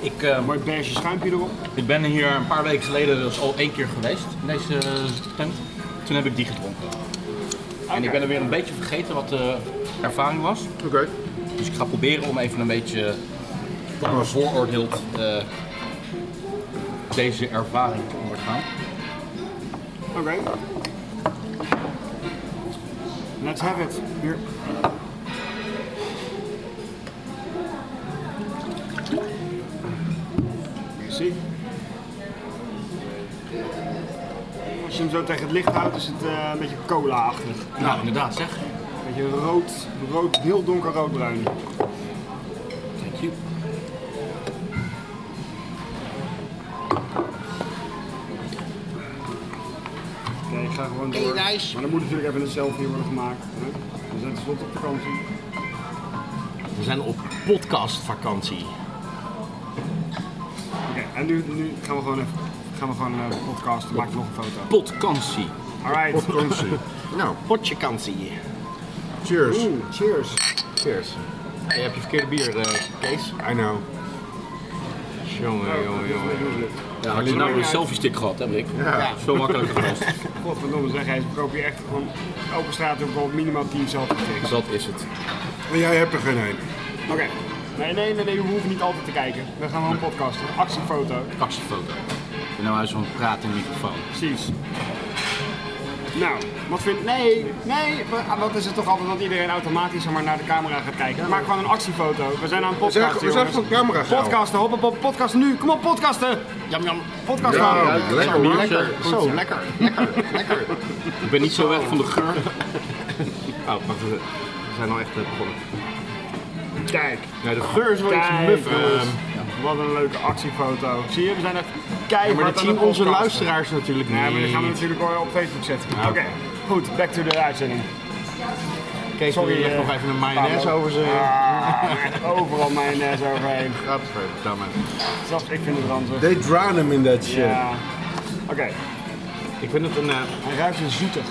Speaker 1: Ik, eh,
Speaker 5: Mooi beige schuimpje erop.
Speaker 1: ik ben hier een paar weken geleden dus al één keer geweest, in deze eh, tent. Toen heb ik die gedronken. En ik ben er weer een beetje vergeten wat de ervaring was.
Speaker 2: oké.
Speaker 1: Dus ik ga proberen om even een beetje onbevooroordeeld eh, deze ervaring te ondergaan.
Speaker 5: Oké. Let's have it. Hier. Merci. Als je hem zo tegen het licht houdt, is het eh, een beetje cola-achtig.
Speaker 1: Nou, inderdaad zeg.
Speaker 5: Een beetje rood, rood, heel donker roodbruin.
Speaker 1: Thank you.
Speaker 5: Oké, ik ga gewoon door. Maar dan moet natuurlijk even een selfie worden gemaakt. Hè? We zijn tenslotte op vakantie.
Speaker 1: We zijn op podcastvakantie.
Speaker 5: Oké, en nu, nu gaan we gewoon even, gaan we gewoon, eh, podcasten. Maak ik nog een foto.
Speaker 1: Podkantie.
Speaker 5: Alright.
Speaker 2: Vakantie. nou,
Speaker 1: Potjekantie.
Speaker 2: cheers.
Speaker 5: Oeh, cheers.
Speaker 1: Cheers. Hey, heb je verkeerde bier, eh, Kees?
Speaker 2: I know.
Speaker 1: Jongen, jongen, jongen.
Speaker 5: Godverdomme
Speaker 1: Ja, had je nou een selfie stick gehad, heb ik. Ja. Veel makkelijker geweest.
Speaker 5: zeg, hij verkoopt hier echt gewoon open straat ook wel minimaal 10 selfies.
Speaker 1: Dat is het.
Speaker 2: En jij hebt er geen een.
Speaker 5: Oké. Nee, nee, nee, nee, we hoeven niet altijd te kijken. We gaan gewoon podcasten. Actiefoto.
Speaker 1: Actiefoto. Ik ben nou uit zo'n pratende microfoon.
Speaker 5: Precies. Nou, wat vind Nee, nee, wa- ah, wat is het toch altijd dat iedereen automatisch zeg maar, naar de camera gaat kijken? Maak gewoon een actiefoto. We zijn aan het
Speaker 2: zijn-
Speaker 5: podcasten,
Speaker 2: we zijn
Speaker 5: jongens.
Speaker 2: van camera gehouden.
Speaker 5: Podcasten, hop, hop, hop, podcast nu. Kom op, podcasten.
Speaker 1: Jam, jam.
Speaker 5: Podcast
Speaker 2: Ja,
Speaker 5: houden.
Speaker 2: lekker, lekker, man.
Speaker 1: Lekker.
Speaker 2: Goed,
Speaker 1: Zo,
Speaker 2: ja.
Speaker 1: lekker. Lekker. Lekker. Ik ben niet zo weg van de geur.
Speaker 2: Oh, wacht even. We zijn al echt eh, begonnen.
Speaker 5: Kijk,
Speaker 2: Nee, de geur is wel iets
Speaker 5: Kijk,
Speaker 1: eh,
Speaker 2: muffigs.
Speaker 5: jongens. wat een leuke actiefoto. Zie je, we zijn echt keihard
Speaker 2: Maar dat
Speaker 5: aan
Speaker 2: zien
Speaker 5: het
Speaker 2: onze
Speaker 5: podcasten.
Speaker 2: luisteraars natuurlijk
Speaker 5: Nee, maar die
Speaker 2: niet.
Speaker 5: gaan we natuurlijk wel op Facebook zetten. Oké, goed, back to de uitzending.
Speaker 2: Kees,
Speaker 5: Sorry,
Speaker 2: je legt
Speaker 5: eh,
Speaker 2: nog even een mayonaise
Speaker 5: Pablo.
Speaker 2: over zijn...
Speaker 5: Ah, echt overal mayonaise overheen. Zelfs ik vind het ranzig.
Speaker 2: They drown him in that shit.
Speaker 5: Ja. Oké,
Speaker 2: Ik vind het een, eh,
Speaker 5: hij ruikt weer zoetig.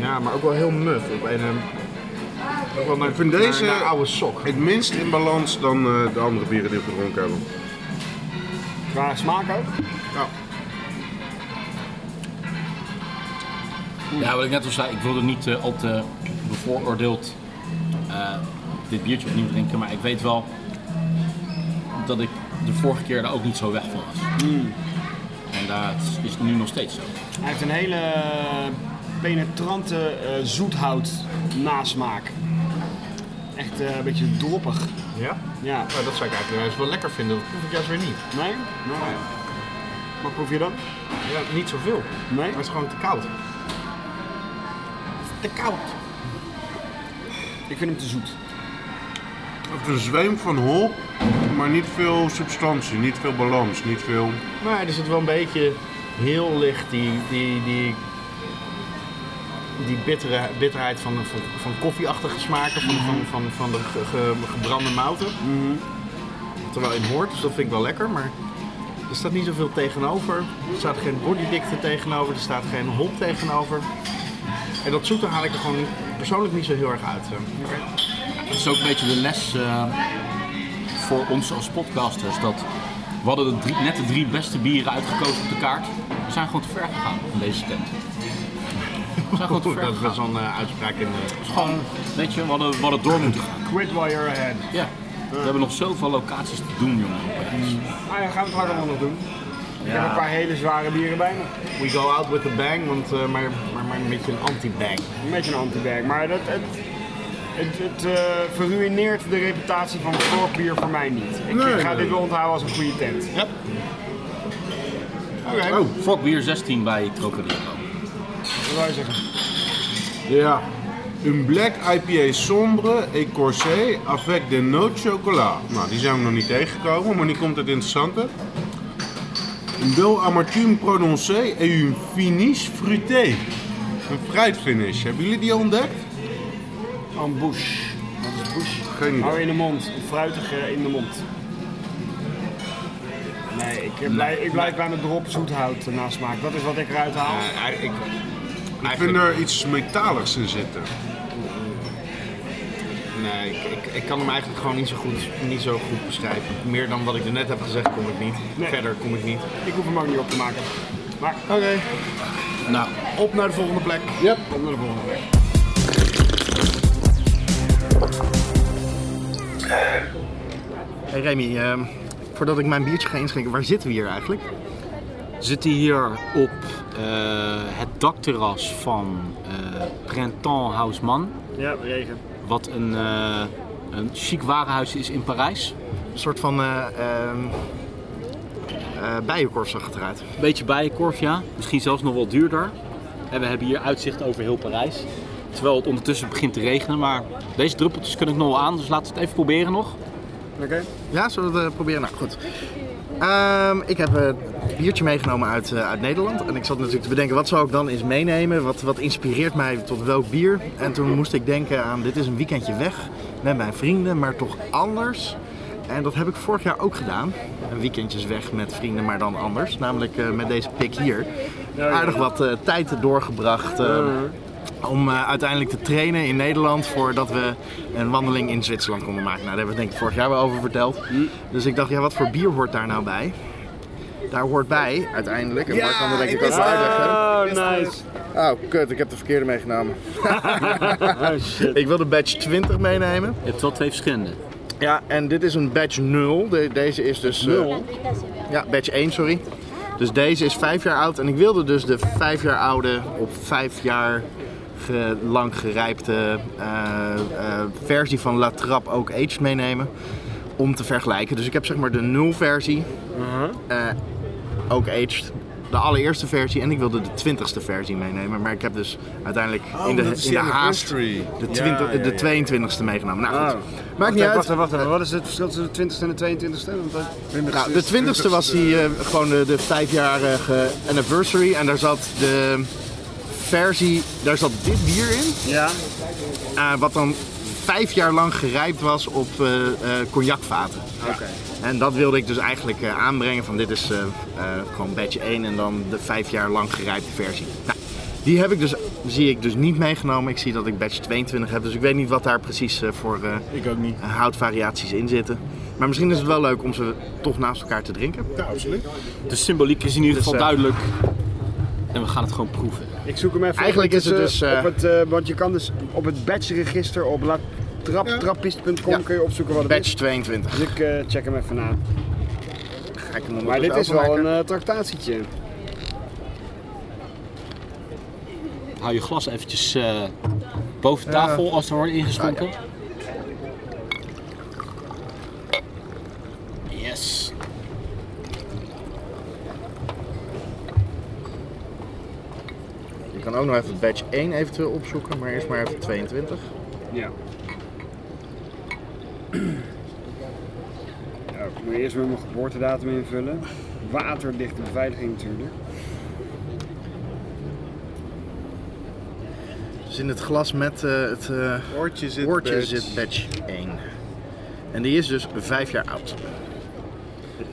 Speaker 2: ja, maar ook wel heel muf. Op een, eh, ook wel naar, ik vind deze
Speaker 8: naar- naar
Speaker 2: oude sok. Het minst in balans dan eh, de andere bieren die we gedronken hebben.
Speaker 5: Qua smaak ook.
Speaker 1: Ja, wat ik net al zei, ik wilde niet eh, al te bevooroordeeld eh, dit biertje opnieuw drinken. Maar ik weet wel dat ik de vorige keer daar ook niet zo weg van was.
Speaker 9: Hmm.
Speaker 1: En dat is nu nog steeds zo.
Speaker 5: Hij heeft een hele eh, penetrante eh zoethout nasmaak. Echt eh, een beetje droppig.
Speaker 2: Ja?
Speaker 5: Ja.
Speaker 2: Nou, dat zou ik eigenlijk juist wel lekker vinden. Dat proef ik juist weer niet.
Speaker 5: Nee? Nee. Wat proef je dan?
Speaker 2: Ja, niet zoveel.
Speaker 5: Nee?
Speaker 2: Maar het is gewoon te koud.
Speaker 5: Te koud. Ik vind hem te zoet.
Speaker 2: Of de zweem van hol, maar niet veel substantie, niet veel balans, niet veel...
Speaker 3: Maar er zit wel een beetje heel licht die, die, die, die bittere, bitterheid van, van, van koffieachtige smaken, van, van, van, van de ge- ge- gebrande mouten. Terwijl in hoort, dus dat vind ik wel lekker, maar er staat niet zoveel tegenover. Er staat geen bodydikte tegenover, er staat geen hop tegenover. En dat zoete haal ik er gewoon persoonlijk niet zo heel erg uit. eh. Het is ook een beetje de les eh, voor ons als podcasters. Dat we hadden de drie- net de drie beste bieren uitgekozen op de kaart. We zijn gewoon te ver gegaan in deze tent. We zijn gewoon te ver
Speaker 9: Dat is
Speaker 3: gegaan. zo'n eh, uitspraak in de... Gewoon, weet je, we hadden, we hadden door moeten gaan.
Speaker 5: Quit while you're ahead.
Speaker 3: Ja. We hebben nog zoveel locaties te doen, jongen.
Speaker 2: Nou
Speaker 5: Ah ja, gaan we het maar allemaal nog doen. Ik heb een paar hele zware bieren bij me.
Speaker 3: We go out with a bang, want, eh, maar, maar, maar een beetje een anti-bang.
Speaker 5: Een beetje een anti-werk, maar dat, het, het, het eh, verruineert de reputatie van vorig bier voor mij niet. Ik
Speaker 2: Nee,
Speaker 5: ga
Speaker 2: nee.
Speaker 5: dit wel onthouden als een goede tent.
Speaker 3: Yep.
Speaker 5: Oké,
Speaker 2: Oh,
Speaker 3: Fok bier 16 bij Crocodilo.
Speaker 5: wat wil je zeggen?
Speaker 2: ja. Een black IPA sombre et corsé avec des notes chocolat. Nou, die zijn we nog niet tegengekomen, maar nu komt het interessante. Een bel amertume prononcé et une finish fruité. Een fruitfinish. Hebben jullie die al ontdekt?
Speaker 5: Ambush. Wat is bush?
Speaker 2: Geen idee.
Speaker 5: Hou in de mond, een fruitige in de mond. Nee, ik blijf, ik blijf bij mijn drop zoethout eh, nasmaak. Dat is wat ik eruit haal.
Speaker 2: Eh, ik, ik vind er iets metaligs in zitten.
Speaker 3: Nee, ik, ik, ik kan hem eigenlijk gewoon niet zo, goed, niet zo goed beschrijven. Meer dan wat ik er net heb gezegd, kom ik niet.
Speaker 5: Nee.
Speaker 3: Verder kom ik niet.
Speaker 5: Ik hoef hem ook niet op te maken. Maar
Speaker 3: Oké. Nou, op naar de volgende plek.
Speaker 2: Yep.
Speaker 5: kom naar de volgende weg.
Speaker 3: Hey Remy, ehm, voordat ik mijn biertje ga inschenken, waar zitten we hier eigenlijk? We zitten hier op eh, het dakterras van eh, Printemps Houseman.
Speaker 5: Ja, regen.
Speaker 3: Wat een, eh, een chic warenhuis is in Parijs. Een soort van eh, uh, zag het eruit. Beetje bijenkorf, ja. Misschien zelfs nog wel duurder. En we hebben hier uitzicht over heel Parijs. Terwijl het ondertussen begint te regenen, maar deze druppeltjes kunnen ik nog wel aan, dus laten we het even proberen nog.
Speaker 5: Oké.
Speaker 3: Ja, zullen we het eh, proberen? Nou, goed. Ehm, ik heb eh, een biertje meegenomen uit, eh, uit Nederland. En ik zat natuurlijk te bedenken, wat zou ik dan eens meenemen? Wat, wat inspireert mij tot welk bier? En toen moest ik denken aan, dit is een weekendje weg met mijn vrienden, maar toch anders. En dat heb ik vorig jaar ook gedaan. Een weekendjes weg met vrienden, maar dan anders. Namelijk eh, met deze pik hier. Aardig wat eh, tijd doorgebracht. eh, om eh, uiteindelijk te trainen in Nederland voordat we een wandeling in Zwitserland konden maken. Nou, daar hebben we het denk ik vorig jaar wel over verteld. Dus ik dacht, ja, wat voor bier hoort daar nou bij? Daar hoort bij, uiteindelijk, en Mark kan dat denk ik ook wel uitleggen.
Speaker 5: Oh, nice.
Speaker 3: Oh, kut, ik heb de verkeerde meegenomen. Oh, Ik wilde badge 20 meenemen.
Speaker 1: Je hebt wel twee verschillende.
Speaker 3: Ja, en dit is een badge 0. De- deze is dus... 0? ja, badge 1, sorry. Dus deze is 5 jaar oud. En ik wilde dus de 5 jaar oude op 5 jaar ge- lang gerijpte eh, eh, versie van La Trappe ook aged meenemen. Om te vergelijken. Dus ik heb zeg maar de 0 versie.
Speaker 2: Uh-huh.
Speaker 3: eh, ook aged. De allereerste versie en ik wilde de 20ste versie meenemen. Maar ik heb dus uiteindelijk in de,
Speaker 2: Oh, dat is
Speaker 3: in de
Speaker 2: die
Speaker 3: haast de,
Speaker 2: anniversary.
Speaker 3: 20
Speaker 2: Ja, Ah, ja,
Speaker 3: de
Speaker 2: ja.
Speaker 3: 22ste meegenomen. Nou goed, maakt niet
Speaker 5: Wacht
Speaker 3: uit.
Speaker 5: even, wacht even. Wat is het verschil tussen de 20ste en de 22ste? Want dat-
Speaker 3: Nou, de twintigste was die, eh, gewoon de, de vijfjarige anniversary. En daar zat de versie, daar zat dit bier in.
Speaker 5: Ja.
Speaker 3: eh, wat dan vijf jaar lang gerijpt was op eh, eh, cognacvaten. En dat wilde ik dus eigenlijk eh, aanbrengen van dit is eh, eh, gewoon badge 1 en dan de vijf jaar lang gerijpte versie. Nou, die heb ik dus, zie ik dus niet meegenomen. Ik zie dat ik badge 22 heb, dus ik weet niet wat daar precies eh, voor eh,
Speaker 5: Ik ook niet.
Speaker 3: houtvariaties in zitten. Maar misschien is het wel leuk om ze toch naast elkaar te drinken.
Speaker 2: Ja, absoluut.
Speaker 1: De symboliek is in ieder geval
Speaker 3: eh,
Speaker 1: duidelijk. En we gaan het gewoon proeven.
Speaker 5: Ik zoek hem even. op.
Speaker 3: Eigenlijk is het
Speaker 5: eh,
Speaker 3: dus, eh,
Speaker 5: op het, eh, want je kan dus op het batchregister op la- trap, trappist.com
Speaker 3: Ja.
Speaker 5: kun je opzoeken wat het
Speaker 3: Batch 22.
Speaker 5: is. Dus ik eh, check hem even na.
Speaker 3: Ga ik hem ondertussen
Speaker 5: Maar dit is wel
Speaker 3: openmaken.
Speaker 5: een eh tractatietje.
Speaker 1: Hou je glas eventjes eh, boven tafel als er wordt ingeschonken.
Speaker 10: Ah,
Speaker 1: Yes.
Speaker 3: Je kan ook nog even batch 1 eventueel opzoeken, maar eerst maar even 22.
Speaker 5: Ja. moet eerst weer mijn geboortedatum invullen. Waterdichte beveiliging natuurlijk.
Speaker 3: Dus in het glas met eh, het eh
Speaker 2: Oortje zit
Speaker 3: oortje
Speaker 2: bed.
Speaker 3: zit batch 1. En die is dus vijf jaar oud.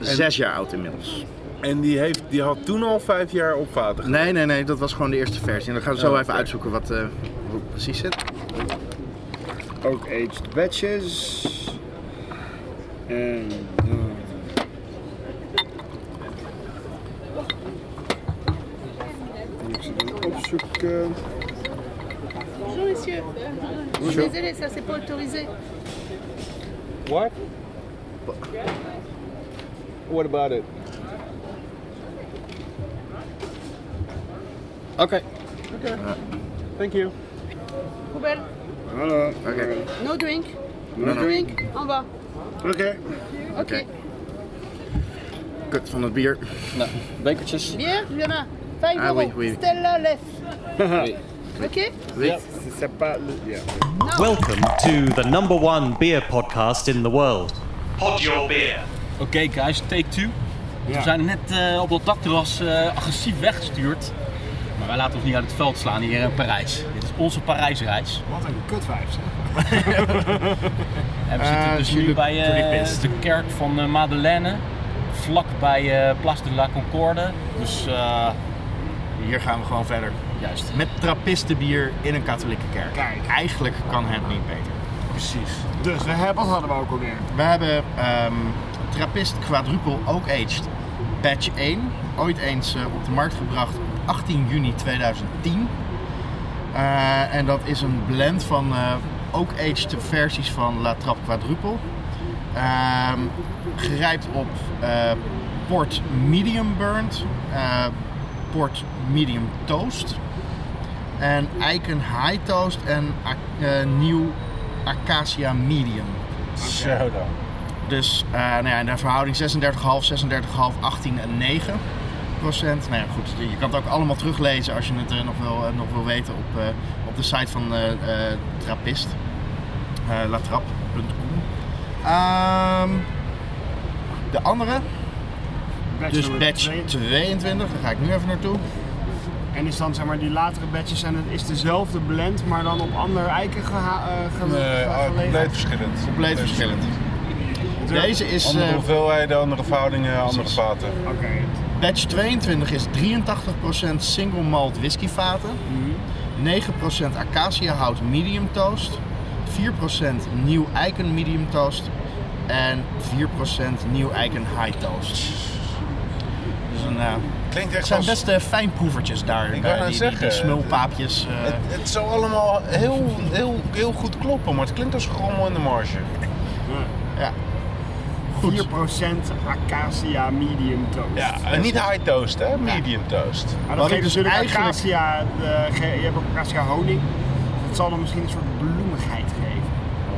Speaker 3: Zes jaar oud inmiddels.
Speaker 2: En die, heeft, die had toen al vijf jaar op water.
Speaker 3: Nee, nee, nee, dat was gewoon de eerste versie. En dan gaan we zo even uitzoeken wat, eh, hoe het precies zit.
Speaker 5: Ook aged batches. En... eh, Ik zit aan het opzoeken.
Speaker 11: Bonjour monsieur. Je suis désolée, ça c'est pas autorisé.
Speaker 2: What? What about it?
Speaker 3: Oké.
Speaker 2: Thank you.
Speaker 11: Poubelle,
Speaker 5: Hallo.
Speaker 3: Oké. Nou,
Speaker 11: no drink. No drink, en bas.
Speaker 5: Oké.
Speaker 11: Ok.
Speaker 3: Kut van het bier.
Speaker 10: Nou, bekertjes.
Speaker 11: Bière, il y en a 5
Speaker 3: Ah
Speaker 11: euros.
Speaker 3: oui, oui.
Speaker 11: Stella Lef. ok
Speaker 5: C'est pas le- ja.
Speaker 4: Welcome to the number one beer podcast in the world. Pod Your Beer.
Speaker 10: Oké guys, take two. We zijn net eh, op dat dakterras eh, agressief weggestuurd. Maar wij laten ons niet uit het veld slaan hier in Parijs. Dit is onze Parijsreis.
Speaker 6: Wat een kutwijf zeg.
Speaker 10: En we zitten dus nu bij eh, de kerk van eh, Madeleine. Vlak bij eh Place de la Concorde. Dus eh,
Speaker 3: Hier gaan we gewoon verder.
Speaker 10: juist.
Speaker 3: Met trappistenbier in een katholieke kerk. Eigenlijk kan het niet beter.
Speaker 6: Dus we hebben, wat hadden we ook alweer?
Speaker 3: We hebben ehm Trappist Quadruple Oak Aged Batch 1. Ooit eens eh, op de markt gebracht op 18 juni 2010. Eh, en dat is een blend van eh Oak Aged versies van La Trappe Quadruple. Ehm gerijpt op eh, Port Medium Burnt, eh, Port Medium Toast. En Eiken High Toast en ac- eh, nieuw Acacia Medium.
Speaker 2: Zo dan.
Speaker 3: Dus eh nou ja, in de verhouding 36,5, 36,5, 18 en 9 procent. Nou ja, goed, je kan het ook allemaal teruglezen als je het eh, nog, wil, eh, nog wil weten op, eh, op de site van eh eh, Trappist. Eh, Latrap.com. Ehm, de andere, dus
Speaker 5: nummer
Speaker 3: batch
Speaker 5: twee.
Speaker 3: 22, daar ga ik nu even naartoe.
Speaker 5: En is dan zeg maar die latere batches en het is dezelfde blend, maar dan op andere eiken geha- eh, ge-
Speaker 2: Nee,
Speaker 5: ge-
Speaker 3: oh,
Speaker 2: ah, compleet
Speaker 5: gelegen.
Speaker 2: verschillend.
Speaker 3: Compleet verschillend. Deze is,
Speaker 2: Andere
Speaker 3: eh,
Speaker 2: hoeveelheden, andere verhoudingen, andere vaten.
Speaker 5: Oké.
Speaker 3: batch 22 is 83% single malt whiskyvaten. 9% acaciahout medium toast, 4% nieuw eiken medium toast en 4% nieuw eiken high toast. Dus een, eh,
Speaker 2: Klinkt
Speaker 3: het
Speaker 2: echt
Speaker 3: zijn
Speaker 2: als...
Speaker 3: best eh, fijnproevertjes daar,
Speaker 2: Ik wou
Speaker 3: daar,
Speaker 2: net
Speaker 3: die, die, die
Speaker 2: zeggen,
Speaker 3: smulpaapjes. eh.
Speaker 2: Het, het zou allemaal heel, heel, heel goed kloppen, maar het klinkt als grommel in de marge.
Speaker 3: ja.
Speaker 5: 4% acacia medium toast.
Speaker 2: Ja, en niet high toast, hè? Medium toast.
Speaker 5: Maar
Speaker 3: Wat
Speaker 5: dat
Speaker 3: ik
Speaker 5: geeft
Speaker 3: dus
Speaker 5: natuurlijk
Speaker 3: eigenlijk-
Speaker 5: acacia, eh, ge- je hebt ook acacia honing. Dat zal dan misschien een soort bloemigheid geven.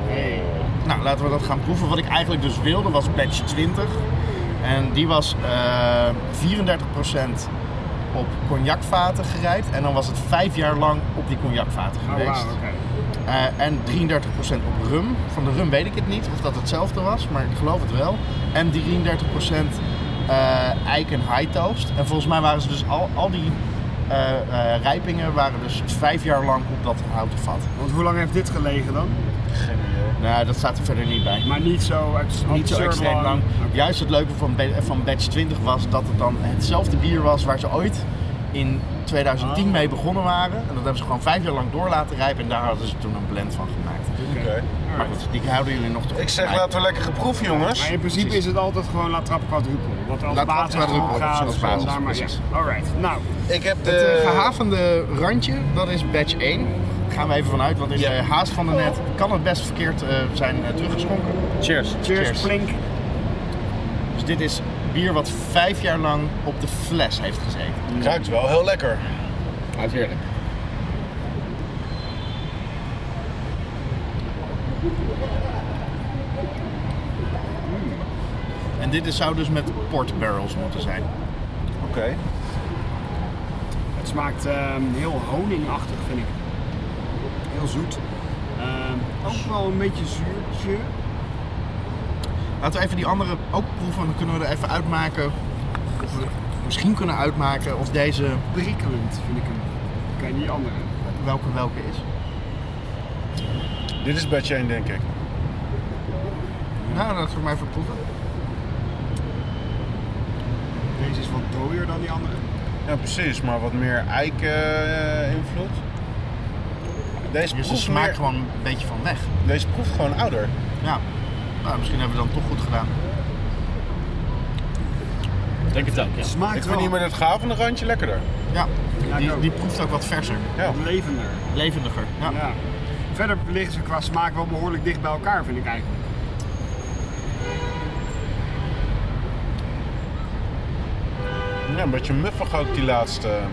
Speaker 5: Hey.
Speaker 3: Nou, laten we dat gaan proeven. Wat ik eigenlijk dus wilde was batch 20. En die was eh 34% op cognacvaten gerijpt. En dan was het vijf jaar lang op die cognacvaten
Speaker 5: Oh,
Speaker 3: geweest.
Speaker 5: wauw, oké.
Speaker 3: Eh, en 33% op rum. Van de rum weet ik het niet of dat hetzelfde was, maar ik geloof het wel. En 33% eh eik en high toast. En volgens mij waren ze dus al, al die eh, eh, rijpingen waren dus vijf jaar lang op dat houten vat.
Speaker 5: Want hoe lang heeft dit gelegen dan?
Speaker 3: Nou, dat staat er verder niet bij.
Speaker 5: Maar niet zo, ex-
Speaker 3: Niet zo
Speaker 5: absurd
Speaker 3: extreem lang. Juist het leuke van, ba- van batch 20 was dat het dan hetzelfde bier was waar ze ooit in 2010
Speaker 2: Ah.
Speaker 3: mee begonnen waren. En dat hebben ze gewoon vijf jaar lang door laten rijpen en daar hadden ze toen een blend van gemaakt.
Speaker 2: Oké.
Speaker 3: Maar goed, die houden jullie nog te
Speaker 2: Ik zeg,
Speaker 3: goed.
Speaker 2: laten we lekker geproeven, jongens.
Speaker 5: Maar in principe is het altijd gewoon La Trappe Quadruple. Wat als
Speaker 3: La Trappe
Speaker 5: basis
Speaker 3: Quadruple,
Speaker 5: erop gaat.
Speaker 3: als
Speaker 5: en
Speaker 3: basis,
Speaker 5: daar maar- ja.
Speaker 3: precies.
Speaker 5: Alright, nou.
Speaker 2: Ik heb
Speaker 3: Het eh,
Speaker 2: de...
Speaker 3: gehavende randje, dat is batch 1. Daar gaan we even vanuit, want in
Speaker 2: Ja.
Speaker 3: de haast van de net kan het best verkeerd eh, zijn eh, teruggeschonken.
Speaker 10: Cheers.
Speaker 5: Cheers,
Speaker 3: Cheers.
Speaker 5: Plink.
Speaker 3: Dus dit is bier wat vijf jaar lang op de fles heeft gezeten.
Speaker 2: Ruikt wel heel lekker.
Speaker 10: Hij is heerlijk.
Speaker 3: En dit is, zou dus met port barrels moeten zijn.
Speaker 2: Oké.
Speaker 5: Het smaakt ehm, heel honingachtig, vind ik. Heel zoet. Ehm, ook wel een beetje zuurtje.
Speaker 3: Laten we even die andere ook proeven. Dan kunnen we er even uitmaken. Of we misschien kunnen uitmaken of deze
Speaker 5: Prikkelend vind ik hem. Kijk, die andere.
Speaker 3: welke welke is.
Speaker 2: Dit is Batjane, denk ik.
Speaker 3: Nou, laten we maar even proeven.
Speaker 5: Deze is wat dooier dan die andere.
Speaker 2: Ja, precies, maar wat meer eh, eik-invloed. Deze
Speaker 3: Dus de
Speaker 2: proeft
Speaker 3: smaakt
Speaker 2: meer-
Speaker 3: gewoon een beetje van weg.
Speaker 2: Deze proeft gewoon ouder.
Speaker 3: Ja. Nou, misschien hebben we dan toch goed gedaan.
Speaker 10: Ik Denk het ook, ja.
Speaker 5: Smaakt
Speaker 2: Ik
Speaker 5: wel
Speaker 2: vind die met het gavende randje lekkerder.
Speaker 3: Ja.
Speaker 5: ik
Speaker 3: Die,
Speaker 5: ook.
Speaker 3: die proeft ook wat verser.
Speaker 5: levender.
Speaker 3: Levendiger. Ja.
Speaker 5: Ja. Verder liggen ze qua smaak wel behoorlijk dicht bij elkaar, vind ik eigenlijk.
Speaker 2: Ja, een beetje muffig ook die laatste. eh,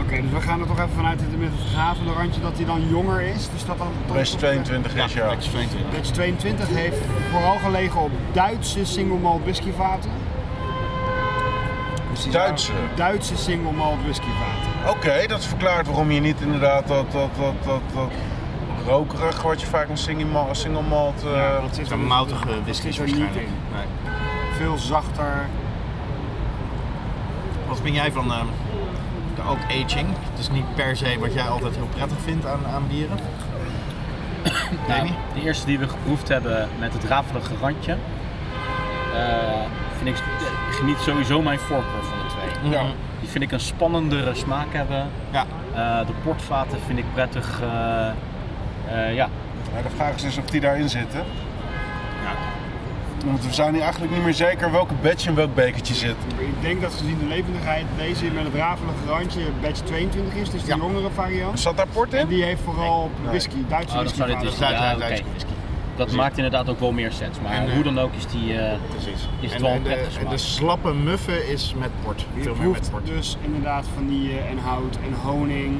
Speaker 5: Oké, dus we gaan er toch even vanuit dat het met het gravende randje dat hij dan jonger is. Dus dat dan toch-
Speaker 2: Deze 22 is ja.
Speaker 3: Lekker 22.
Speaker 5: Batch 22 heeft vooral gelegen op Duitse single malt whiskyvaten. Dus die zijn
Speaker 2: Duitse?
Speaker 5: ook Duitse single malt whiskyvaten.
Speaker 2: Oké, dat verklaart waarom je niet inderdaad dat, dat, dat, dat, dat rokerig wat je vaak een single malt... Single malt eh,
Speaker 5: dat zit er
Speaker 3: Een
Speaker 5: dus-
Speaker 3: moutige whisky
Speaker 5: zit er niet
Speaker 3: waarschijnlijk.
Speaker 5: in.
Speaker 3: Nee.
Speaker 5: Veel zachter.
Speaker 3: Wat vind jij van ehm, de oak aging? Het is niet per se wat jij altijd heel prettig vindt aan, aan bieren.
Speaker 10: Nou,
Speaker 3: Jamie?
Speaker 10: de eerste die we geproefd hebben met het rafelige randje. eh, vind ik, eh, geniet sowieso mijn voorkeur van de twee.
Speaker 3: Ja.
Speaker 10: Die vind ik een spannendere smaak hebben.
Speaker 3: Ja.
Speaker 10: Eh, de portvaten vind ik prettig. eh, eh, ja.
Speaker 3: Oh,
Speaker 2: Ja, de vraag is dus of die daarin zitten. Want we zijn nu eigenlijk niet meer zeker welke badge in welk bekertje zit.
Speaker 5: Ik denk dat gezien de levendigheid deze met het rafelige randje batch 22 is, dus de jongere variant.
Speaker 2: Zat daar port
Speaker 5: En
Speaker 2: in?
Speaker 5: die heeft vooral op whisky, Duitse
Speaker 10: Oh, dat zou dit
Speaker 5: whiskyvaten.
Speaker 10: dus
Speaker 3: Zuid-
Speaker 10: Ja,
Speaker 3: Zuid-Duitse
Speaker 10: oké.
Speaker 3: whisky.
Speaker 10: Dat maakt inderdaad ook wel meer sens. Maar hoe dan ook is, die, eh,
Speaker 3: Precies.
Speaker 10: is het
Speaker 3: En,
Speaker 10: wel
Speaker 3: en
Speaker 10: een
Speaker 3: de,
Speaker 10: prettige
Speaker 3: en
Speaker 10: smaak.
Speaker 3: de slappe muffen is met port.
Speaker 5: Je
Speaker 3: Veel meer met
Speaker 5: proeft
Speaker 3: port.
Speaker 5: dus inderdaad vanille en hout en honing.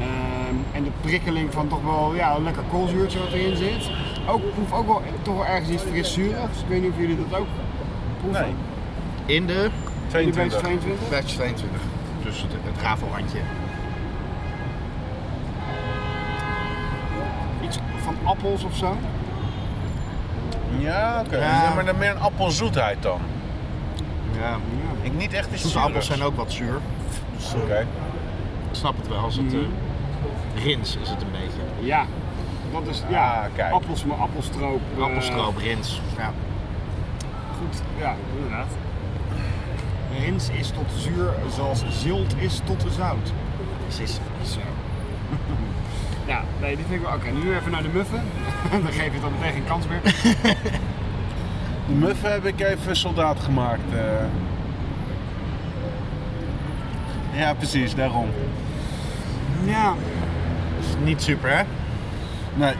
Speaker 5: Ehm, en de prikkeling van toch wel ja, een lekker koolzuurtje wat erin zit. Ook ik proef ook wel toch wel ergens iets frissurigs. Ik weet niet of jullie dat ook proeven.
Speaker 2: Nee.
Speaker 3: In de
Speaker 5: Jullie bij
Speaker 2: 22.
Speaker 5: 22?
Speaker 3: batch 22. Dus het, het rafelrandje.
Speaker 5: Iets van appels of zo.
Speaker 2: Ja, oké.
Speaker 3: Ja.
Speaker 2: Ja, maar dan meer een appelzoetheid dan.
Speaker 3: Ja.
Speaker 2: Ik niet echt iets
Speaker 3: Zoete appels zijn ook wat zuur.
Speaker 2: Dus, Oké.
Speaker 3: Ik snap het wel. Als
Speaker 5: Mhm.
Speaker 3: het eh, rins is het een beetje.
Speaker 5: Ja, dat is ja,
Speaker 2: Ah, kijk.
Speaker 5: appels, maar appelstroop. eh,
Speaker 3: Appelstroop, rins. Ja.
Speaker 5: Goed, ja, inderdaad. Rins is tot zuur, zoals zilt is tot zout.
Speaker 3: Precies.
Speaker 5: Zo. Ja, nee, dit vind ik wel. Oké, nu even naar de muffen. dan geef je het dan meteen geen kans meer.
Speaker 2: De muffen heb ik even soldaat gemaakt. eh. Ja, precies, daarom.
Speaker 5: Ja.
Speaker 3: Niet super hè?
Speaker 2: Nee,
Speaker 5: Het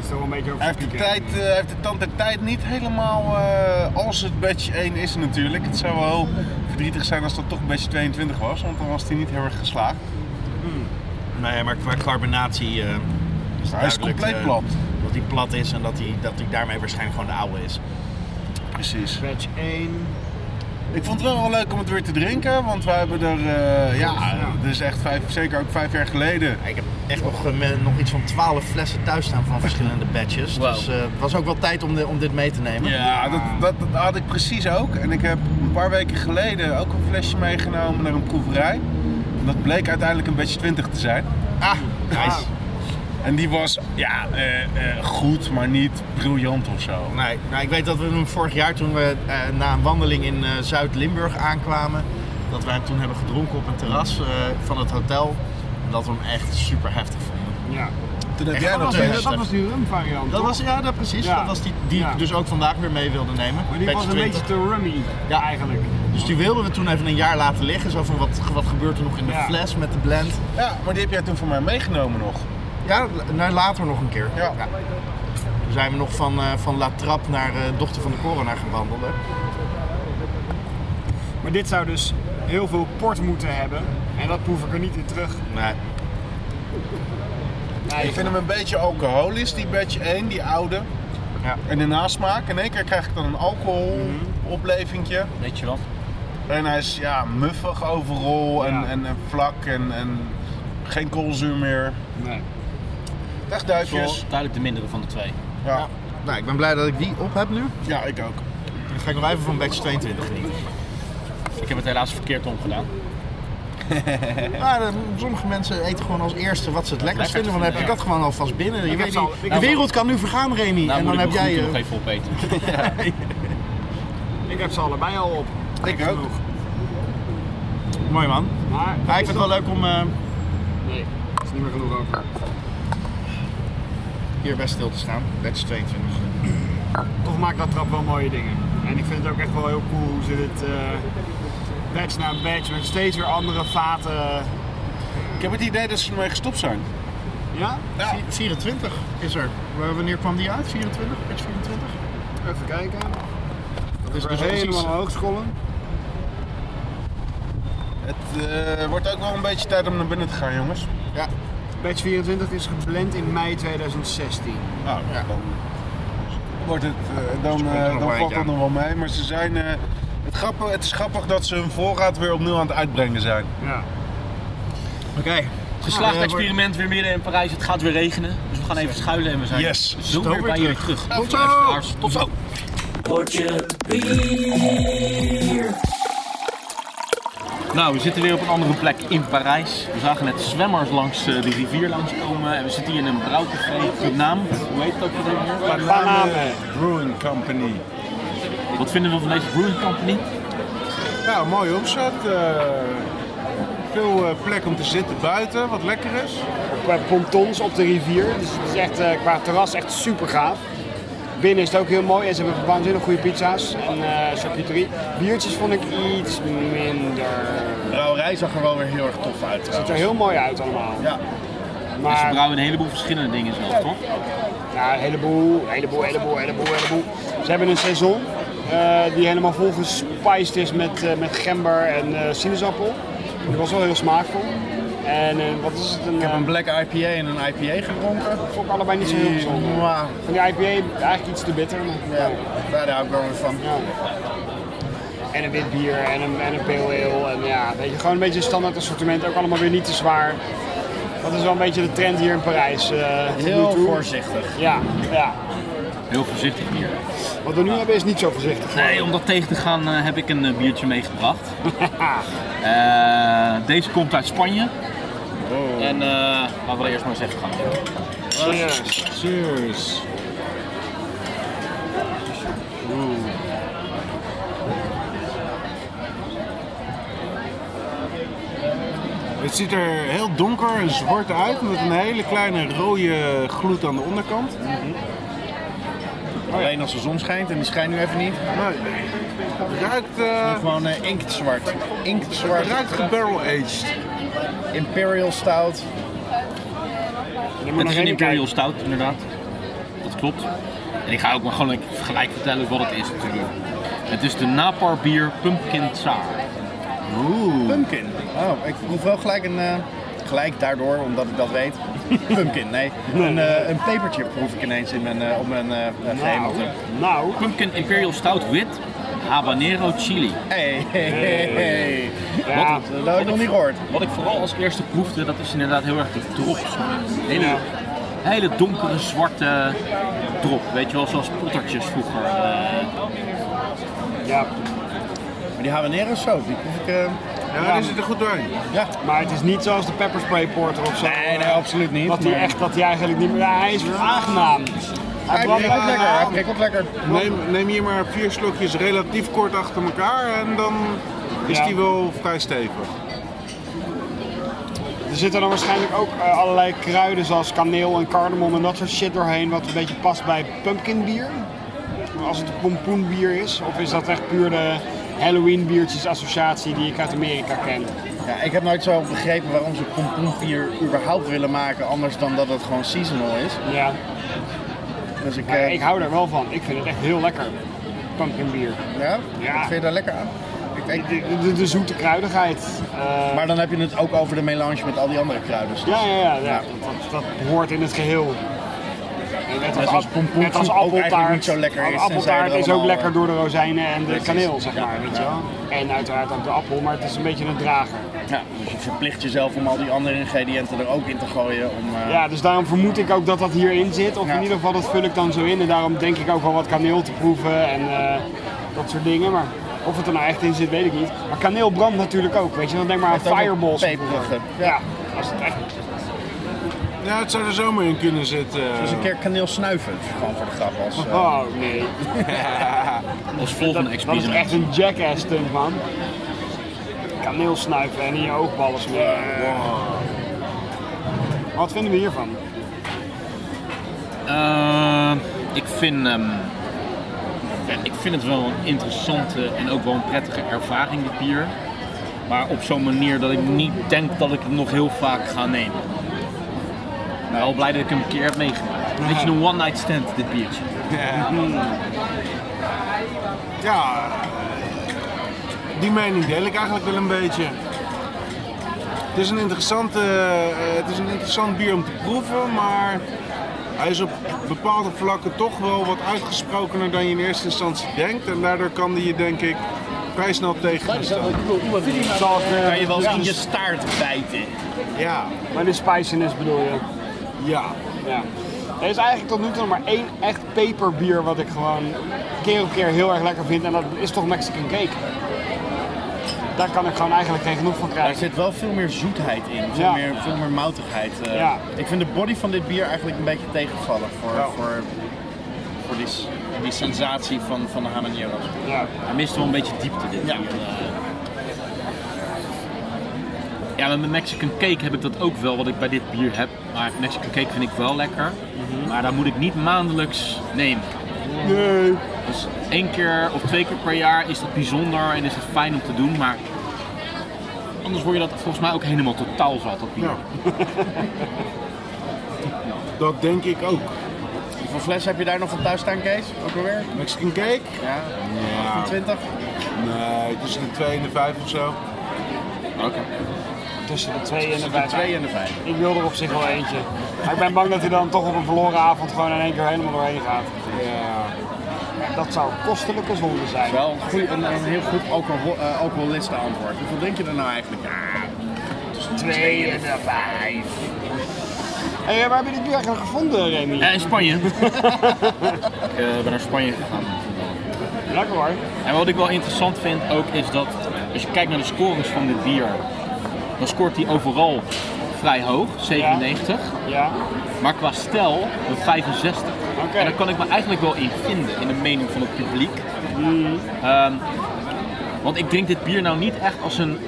Speaker 5: is toch wel een beetje over
Speaker 2: hij heeft de,
Speaker 5: pieken.
Speaker 2: tijd, eh, hij heeft de tand der tijd niet helemaal eh, als het badge 1 is natuurlijk. Het zou wel heel verdrietig zijn als dat toch badge 22 was, want dan was hij niet heel erg geslaagd.
Speaker 3: Nee, maar qua carbonatie eh, is het
Speaker 2: Hij is
Speaker 3: duidelijk,
Speaker 2: compleet
Speaker 3: eh,
Speaker 2: plat.
Speaker 3: Dat hij plat is en dat hij, dat hij daarmee waarschijnlijk gewoon de oude is.
Speaker 2: Precies.
Speaker 5: Batch 1.
Speaker 2: Ik vond het wel, wel leuk om het weer te drinken, want wij hebben er, eh, ja, dit is echt vijf, zeker ook vijf jaar geleden.
Speaker 3: Ik heb echt nog, eh, me- nog iets van 12 flessen thuis staan van verschillende batches.
Speaker 10: Wow.
Speaker 3: Dus eh, het was ook wel tijd om, de- om dit mee te nemen.
Speaker 2: Ja, dat, dat, dat had ik precies ook. En ik heb een paar weken geleden ook een flesje meegenomen naar een proeverij. En Dat bleek uiteindelijk een beetje 20 te zijn.
Speaker 3: Ah, nice.
Speaker 2: En die was, ja, eh, eh, goed, maar niet briljant of zo.
Speaker 3: Nee, nou, ik weet dat we hem vorig jaar toen we eh, na een wandeling in eh, Zuid-Limburg aankwamen, dat wij hem toen hebben gedronken op een terras eh, van het hotel. En dat we hem echt super heftig vonden.
Speaker 5: Ja.
Speaker 2: Toen heb
Speaker 3: Echt
Speaker 2: jij
Speaker 3: wel
Speaker 2: nog
Speaker 3: een
Speaker 2: een
Speaker 3: hele-
Speaker 5: Dat was die rum variant.
Speaker 3: Dat was, ja, dat precies.
Speaker 5: Ja.
Speaker 3: Dat was die die
Speaker 5: Ja.
Speaker 3: ik dus ook vandaag weer mee wilde nemen.
Speaker 5: maar die was
Speaker 3: Batch
Speaker 5: een
Speaker 3: 20.
Speaker 5: beetje te rummy
Speaker 3: Ja.
Speaker 5: eigenlijk.
Speaker 3: Dus die wilden we toen even een jaar laten liggen. Zo van wat, wat gebeurt er nog in de
Speaker 5: Ja.
Speaker 3: fles met de blend.
Speaker 2: Ja, maar die heb jij toen voor mij meegenomen nog.
Speaker 3: Ja, naar later nog een keer.
Speaker 2: Ja.
Speaker 3: Toen zijn we nog van, eh, van La Trappe naar eh, Dochter van de Corona gaan wandelen.
Speaker 5: Maar dit zou dus heel veel port moeten hebben. En dat proef ik er niet in terug.
Speaker 3: Nee.
Speaker 2: Ik vind hem een beetje alcoholisch, die badge 1, die oude.
Speaker 3: Ja.
Speaker 2: En de nasmaak, in één keer krijg ik dan een alcoholoplevingje.
Speaker 10: Weet je wel?
Speaker 2: En hij is ja, muffig overal en,
Speaker 5: Ja.
Speaker 2: en, en vlak en, en geen koolzuur meer.
Speaker 5: Nee.
Speaker 2: Dag
Speaker 1: Dat is wel
Speaker 2: duifjes.
Speaker 1: duidelijk de mindere van de twee.
Speaker 2: Ja.
Speaker 3: Nou, ik ben blij dat ik die op heb nu.
Speaker 2: ja, ik ook.
Speaker 3: Dan ga ik nog even van batch 22 genieten.
Speaker 1: Ik heb het helaas verkeerd omgedaan.
Speaker 3: Maar eh, sommige mensen eten gewoon als eerste wat ze het lekkerst vinden. Dan heb ik dat gewoon alvast binnen. Je weet
Speaker 5: zal-
Speaker 3: niet,
Speaker 5: ik
Speaker 3: de
Speaker 1: zal-
Speaker 3: wereld kan nu vergaan, Remy.
Speaker 1: Nou
Speaker 3: en
Speaker 1: moet
Speaker 3: dan
Speaker 1: ik
Speaker 3: heb
Speaker 1: mijn
Speaker 3: jij...
Speaker 1: groenten
Speaker 3: eh,
Speaker 1: nog even opeten.
Speaker 5: Ik heb ze allebei al op.
Speaker 2: Ik ook.
Speaker 3: Mooi man.
Speaker 5: Maar
Speaker 3: Maar ik vind het wel leuk om eh,
Speaker 5: nee, dat is niet meer genoeg over.
Speaker 3: hier bij stil te staan. Batch 22.
Speaker 5: Toch maakt dat trap wel mooie dingen. En ik vind het ook echt wel heel cool hoe ze dit eh batch na batch met steeds weer andere vaten. eh,
Speaker 2: Ik heb het idee dat ze ermee gestopt zijn.
Speaker 5: Ja?
Speaker 3: Vier- 24 is er. Wa- Wanneer kwam die uit? 24? Batch 24?
Speaker 5: Even kijken.
Speaker 3: Dat is
Speaker 5: We
Speaker 3: dus
Speaker 5: zijn helemaal
Speaker 3: precies...
Speaker 5: omhoog scrollen.
Speaker 2: Het eh, wordt ook wel een beetje tijd om naar binnen te gaan, jongens.
Speaker 5: Batch 24 is geblend in mei 2016.
Speaker 2: Nou,
Speaker 3: Ja.
Speaker 2: dan wordt het, eh, dan,
Speaker 3: komt er
Speaker 2: eh,
Speaker 3: nog
Speaker 2: dan
Speaker 3: wel
Speaker 2: valt
Speaker 3: eentje
Speaker 2: dat nog wel mee. Maar ze zijn, eh, het, grappige, het is grappig dat ze hun voorraad weer opnieuw aan het uitbrengen zijn.
Speaker 5: Ja.
Speaker 3: Oké.
Speaker 1: Geslaagd experiment weer midden in Parijs. Het gaat weer regenen. Dus we gaan even schuilen en we zijn
Speaker 2: Yes.
Speaker 1: zo weer bij jullie terug.
Speaker 3: Tot zo.
Speaker 1: Luisteraars, Tot zo. Nou, we zitten weer op een andere plek in Parijs. We zagen net zwemmers langs eh, de rivier langskomen. En we zitten hier in een brouwcafé. De naam, hoe heet dat ook weer?
Speaker 2: Banane Brewing Company.
Speaker 1: Wat vinden we van deze brewing company?
Speaker 2: Ja, Nou, mooi opzet. eh, veel eh, plek om te zitten buiten, wat lekker is.
Speaker 5: Qua pontons op de rivier. Dus het is echt eh, qua terras echt super gaaf. Binnen is het ook heel mooi en ze hebben waanzinnig goede pizza's en eh charcuterie. Biertjes vond ik iets minder.
Speaker 3: De brouwerij zag er wel weer heel erg tof uit
Speaker 5: Het ziet er
Speaker 3: trouwens.
Speaker 5: heel mooi uit allemaal.
Speaker 3: Ja.
Speaker 1: Dus ze
Speaker 5: Maar
Speaker 1: brouwen een heleboel verschillende dingen zelf, toch?
Speaker 5: Ja, een heleboel, een heleboel, een heleboel, een heleboel, een heleboel. Ze hebben een seizoen eh, die helemaal volgespiced is met, eh, met gember en eh, sinaasappel. Die was wel heel smaakvol. En eh, wat is het? Een,
Speaker 3: Ik heb een
Speaker 5: eh,
Speaker 3: black IPA en een IPA gedronken.
Speaker 5: vond ik allebei niet zo heel gezond.
Speaker 3: Mwah.
Speaker 5: Van die IPA eigenlijk iets te bitter. Maar,
Speaker 3: Ja,
Speaker 5: ja.
Speaker 3: daar hou ik wel weer van.
Speaker 5: Ja. En een wit bier en een, en een pale ale. En ja, weet je, gewoon een beetje een standaard assortiment. Ook allemaal weer niet te zwaar. Dat is wel een beetje de trend hier in Parijs. eh, tot nu
Speaker 3: Heel
Speaker 5: toe.
Speaker 3: voorzichtig.
Speaker 5: Ja, ja.
Speaker 1: Heel voorzichtig hier.
Speaker 5: Wat we nu hebben is niet zo voorzichtig.
Speaker 1: Nee, om dat tegen te gaan eh, heb ik een eh, biertje meegebracht. Eh, deze komt uit Spanje. En eh, laten we eerst maar eens even gaan.
Speaker 5: Cheers.
Speaker 2: Cheers. Het ziet er heel donker en zwart uit met een hele kleine rode gloed aan de onderkant.
Speaker 3: Alleen als de zon schijnt, en die schijnt nu even niet.
Speaker 2: Het ruikt, eh,
Speaker 3: Gewoon eh, inktzwart.
Speaker 2: het
Speaker 3: Inktzwart.
Speaker 2: ruikt gebarrel aged.
Speaker 3: Imperial Stout.
Speaker 1: Het is een Imperial Stout, inderdaad. Dat klopt. En ik ga ook maar gewoon gelijk vertellen wat het is natuurlijk. Het is de Napar bier Pumpkin Sour. Oeh.
Speaker 3: Pumpkin. Oh, ik proef wel gelijk een... eh, gelijk daardoor, omdat ik dat weet. Pumpkin, nee. Een, eh, een pepertje proef ik ineens in mijn, eh, op mijn eh gehemelte.
Speaker 5: Nou,
Speaker 1: Pumpkin Imperial Stout wit, habanero chili.
Speaker 3: Hey, hey, hey, hey.
Speaker 5: ja,
Speaker 1: Wat
Speaker 3: Dat heb ik nog niet gehoord.
Speaker 1: Wat ik vooral als eerste proefde, dat is inderdaad heel erg de drop. Hele, hele donkere zwarte drop. Weet je wel, zoals pottertjes vroeger. eh,
Speaker 5: ja,
Speaker 3: Maar die habanero zo, die proef ik... eh,
Speaker 2: Ja, die zit er goed doorheen.
Speaker 3: ja.
Speaker 5: maar het is niet zoals de pepperspray porter of zo.
Speaker 3: Nee, nee, absoluut niet.
Speaker 5: dat hij
Speaker 3: maar-
Speaker 5: echt, dat hij eigenlijk niet meer. Ja, hij is weer aangenaam.
Speaker 3: Hij
Speaker 5: brandt
Speaker 3: prikkelt
Speaker 5: aan.
Speaker 3: lekker, hij prikkelt lekker.
Speaker 2: Neem, neem hier maar vier slokjes relatief kort achter elkaar en dan is
Speaker 5: Ja.
Speaker 2: die wel vrij stevig.
Speaker 5: Er zitten dan waarschijnlijk ook eh, allerlei kruiden zoals kaneel en cardamom en dat soort shit doorheen, wat een beetje past bij pumpkin bier. Als het een pompoenbier is, of is dat echt puur de Halloween biertjes associatie die ik uit Amerika ken?
Speaker 3: Ja, ik heb nooit zo begrepen waarom ze pompoenbier überhaupt willen maken, anders dan dat het gewoon seasonal is.
Speaker 5: Ja,
Speaker 3: Dus ik,
Speaker 5: maar
Speaker 3: eh,
Speaker 5: ik hou daar wel van. Ik vind het echt heel lekker, pumpkin bier.
Speaker 3: ja,
Speaker 5: Ja.
Speaker 3: ik vind je daar lekker aan. Ik, ik-
Speaker 5: De, de, de zoete kruidigheid. eh,
Speaker 3: maar dan heb je het ook over de melange met al die andere kruiden.
Speaker 5: Ja, ja, ja. ja. Dat, dat, dat hoort in het geheel. Net
Speaker 3: Net
Speaker 5: als,
Speaker 3: als
Speaker 5: ap-
Speaker 3: pompoen
Speaker 5: net als
Speaker 3: soep ook eigenlijk
Speaker 5: appeltaart.
Speaker 3: niet zo lekker is, tenzij je
Speaker 5: Appeltaart
Speaker 3: er
Speaker 5: is ook
Speaker 3: allemaal,
Speaker 5: lekker
Speaker 3: eh,
Speaker 5: door de rozijnen en de kaneel, zeg
Speaker 3: Ja,
Speaker 5: maar. Weet je
Speaker 3: ja.
Speaker 5: wel? En uiteraard ook de appel, maar het is een beetje een drager.
Speaker 3: Ja, dus je verplicht jezelf om al die andere ingrediënten er ook in te gooien. Om, eh,
Speaker 5: Ja, dus daarom vermoed ik ook dat dat hierin zit. Of
Speaker 3: Ja.
Speaker 5: in ieder geval, dat vul ik dan zo in. En daarom denk ik ook wel wat kaneel te proeven en eh, dat soort dingen. Maar of het er nou echt in zit, weet ik niet. Maar kaneel brandt natuurlijk ook, weet je. Dan denk maar aan
Speaker 3: Het heeft ook een
Speaker 5: fireballs.
Speaker 3: peperige-
Speaker 5: Ja, als het echt...
Speaker 2: Ja, het zou er zomaar in kunnen zitten.
Speaker 3: Dus een keer kaneel snuiven, gewoon voor de grap. Als, eh,
Speaker 5: Oh, nee.
Speaker 1: Als volgende
Speaker 5: Dat is
Speaker 1: experiment.
Speaker 5: echt een jackass stunt, man. Kaneel snuiven en in je oogballen smeren. Wat vinden we hiervan?
Speaker 1: Eh, ik, vind, ehm, ja, ik vind het wel een interessante en ook wel een prettige ervaring, dit bier. Maar op zo'n manier dat ik niet denk dat ik het nog heel vaak ga nemen. Ik ben wel blij dat ik hem een keer heb meegemaakt. Een beetje een one night stand, dit biertje.
Speaker 2: Ja, die mening deel ik eigenlijk wel een beetje. Het is een, interessante, eh, het is een interessant bier om te proeven, maar hij is op bepaalde vlakken toch wel wat uitgesprokener dan je in eerste instantie denkt. En daardoor kan die je denk ik vrij snel tegenstaan.
Speaker 5: eh,
Speaker 3: kan je wel eens in je staart bijten.
Speaker 2: Ja,
Speaker 5: Maar dus de spiciness bedoel je?
Speaker 2: ja.
Speaker 5: Ja. Er is eigenlijk tot nu toe nog maar één echt peperbier wat ik gewoon keer op keer heel erg lekker vind. En dat is toch Mexican cake. Daar kan ik gewoon eigenlijk geen genoeg van
Speaker 3: Er
Speaker 5: krijgen.
Speaker 3: zit wel veel meer zoetheid in, veel,
Speaker 5: Ja.
Speaker 3: meer, veel meer moutigheid. eh.
Speaker 5: Ja.
Speaker 3: Ik vind de body van dit bier eigenlijk een beetje tegenvallen voor, voor, voor die, s- die sensatie van, van de habaneros.
Speaker 5: Ja.
Speaker 1: Hij mist wel een beetje diepte, dit
Speaker 3: Ja.
Speaker 1: bier. Ja, maar met Mexican cake heb ik dat ook wel, wat ik bij dit bier heb. Maar Mexican cake vind ik wel lekker. Maar daar moet ik niet maandelijks nemen.
Speaker 5: Nee.
Speaker 1: Dus één keer of twee keer per jaar is dat bijzonder en is het fijn om te doen, maar anders word je dat volgens mij ook helemaal totaal zat op bier.
Speaker 2: Ja. Dat denk ik ook.
Speaker 3: Hoeveel fles heb je daar nog van thuis staan, Kees? Ook alweer?
Speaker 2: Mexican cake?
Speaker 3: Ja,
Speaker 2: Ja,
Speaker 3: 20?
Speaker 2: nee, tussen de 2 en de 5 of zo.
Speaker 3: Oké.
Speaker 5: Tussen de twee en de
Speaker 3: De
Speaker 5: vijf.
Speaker 3: 2 en de 5.
Speaker 5: Ik wil er op zich wel eentje. Maar ik ben bang dat hij dan toch op een verloren avond gewoon in één keer helemaal doorheen gaat.
Speaker 2: Ja.
Speaker 5: Dat zou kostelijke zonde zijn.
Speaker 3: Wel een, goeie- een, een heel goed alcohol, eh, alcoholisten antwoord. Hoeveel drink je er nou eigenlijk? Ja,
Speaker 5: Twee en de vijf. Hé, waar heb je dit bier eigenlijk gevonden, Remy?
Speaker 1: Eh, in Spanje. ik eh, ben naar Spanje gegaan.
Speaker 5: Lekker hoor.
Speaker 1: En wat ik wel interessant vind ook is dat als je kijkt naar de scores van dit bier, dan scoort hij overal vrij hoog, 97.
Speaker 5: Ja.
Speaker 1: Maar qua stijl een 65.
Speaker 5: Oké.
Speaker 1: En daar kan ik me eigenlijk wel in vinden, in de mening van het publiek. Ehm, want ik drink dit bier nou niet echt als een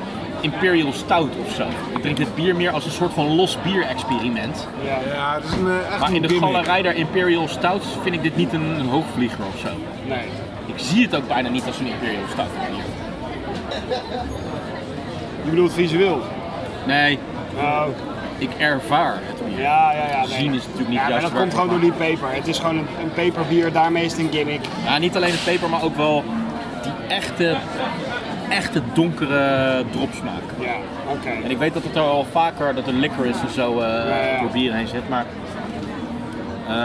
Speaker 1: imperial stout of zo. Ik drink dit bier meer als een soort van los bier experiment.
Speaker 5: Ja.
Speaker 2: Ja, het is een, eh, echt
Speaker 1: Maar
Speaker 2: een
Speaker 1: in de
Speaker 2: gimmick.
Speaker 1: galerij der imperial stouts vind ik dit niet een, een hoogvlieger of zo.
Speaker 5: Nee.
Speaker 1: Ik zie het ook bijna niet als een imperial stout.
Speaker 5: Je bedoelt visueel?
Speaker 1: Nee,
Speaker 5: Oh.
Speaker 1: ik ervaar het bier.
Speaker 5: Ja, ja, ja.
Speaker 1: Zien is natuurlijk niet
Speaker 5: ja, maar
Speaker 1: juist
Speaker 5: dat
Speaker 1: waar
Speaker 5: komt
Speaker 1: het
Speaker 5: gewoon door
Speaker 1: van
Speaker 5: die peper. Het is gewoon een, een peperbier, daarmee is het een gimmick.
Speaker 1: Ja, niet alleen het peper, maar ook wel die echte, echte donkere dropsmaak.
Speaker 5: Ja, oké.
Speaker 1: En ik weet dat het er al vaker, dat er licorice en zo eh
Speaker 5: ja.
Speaker 1: door bier heen zit, maar eh,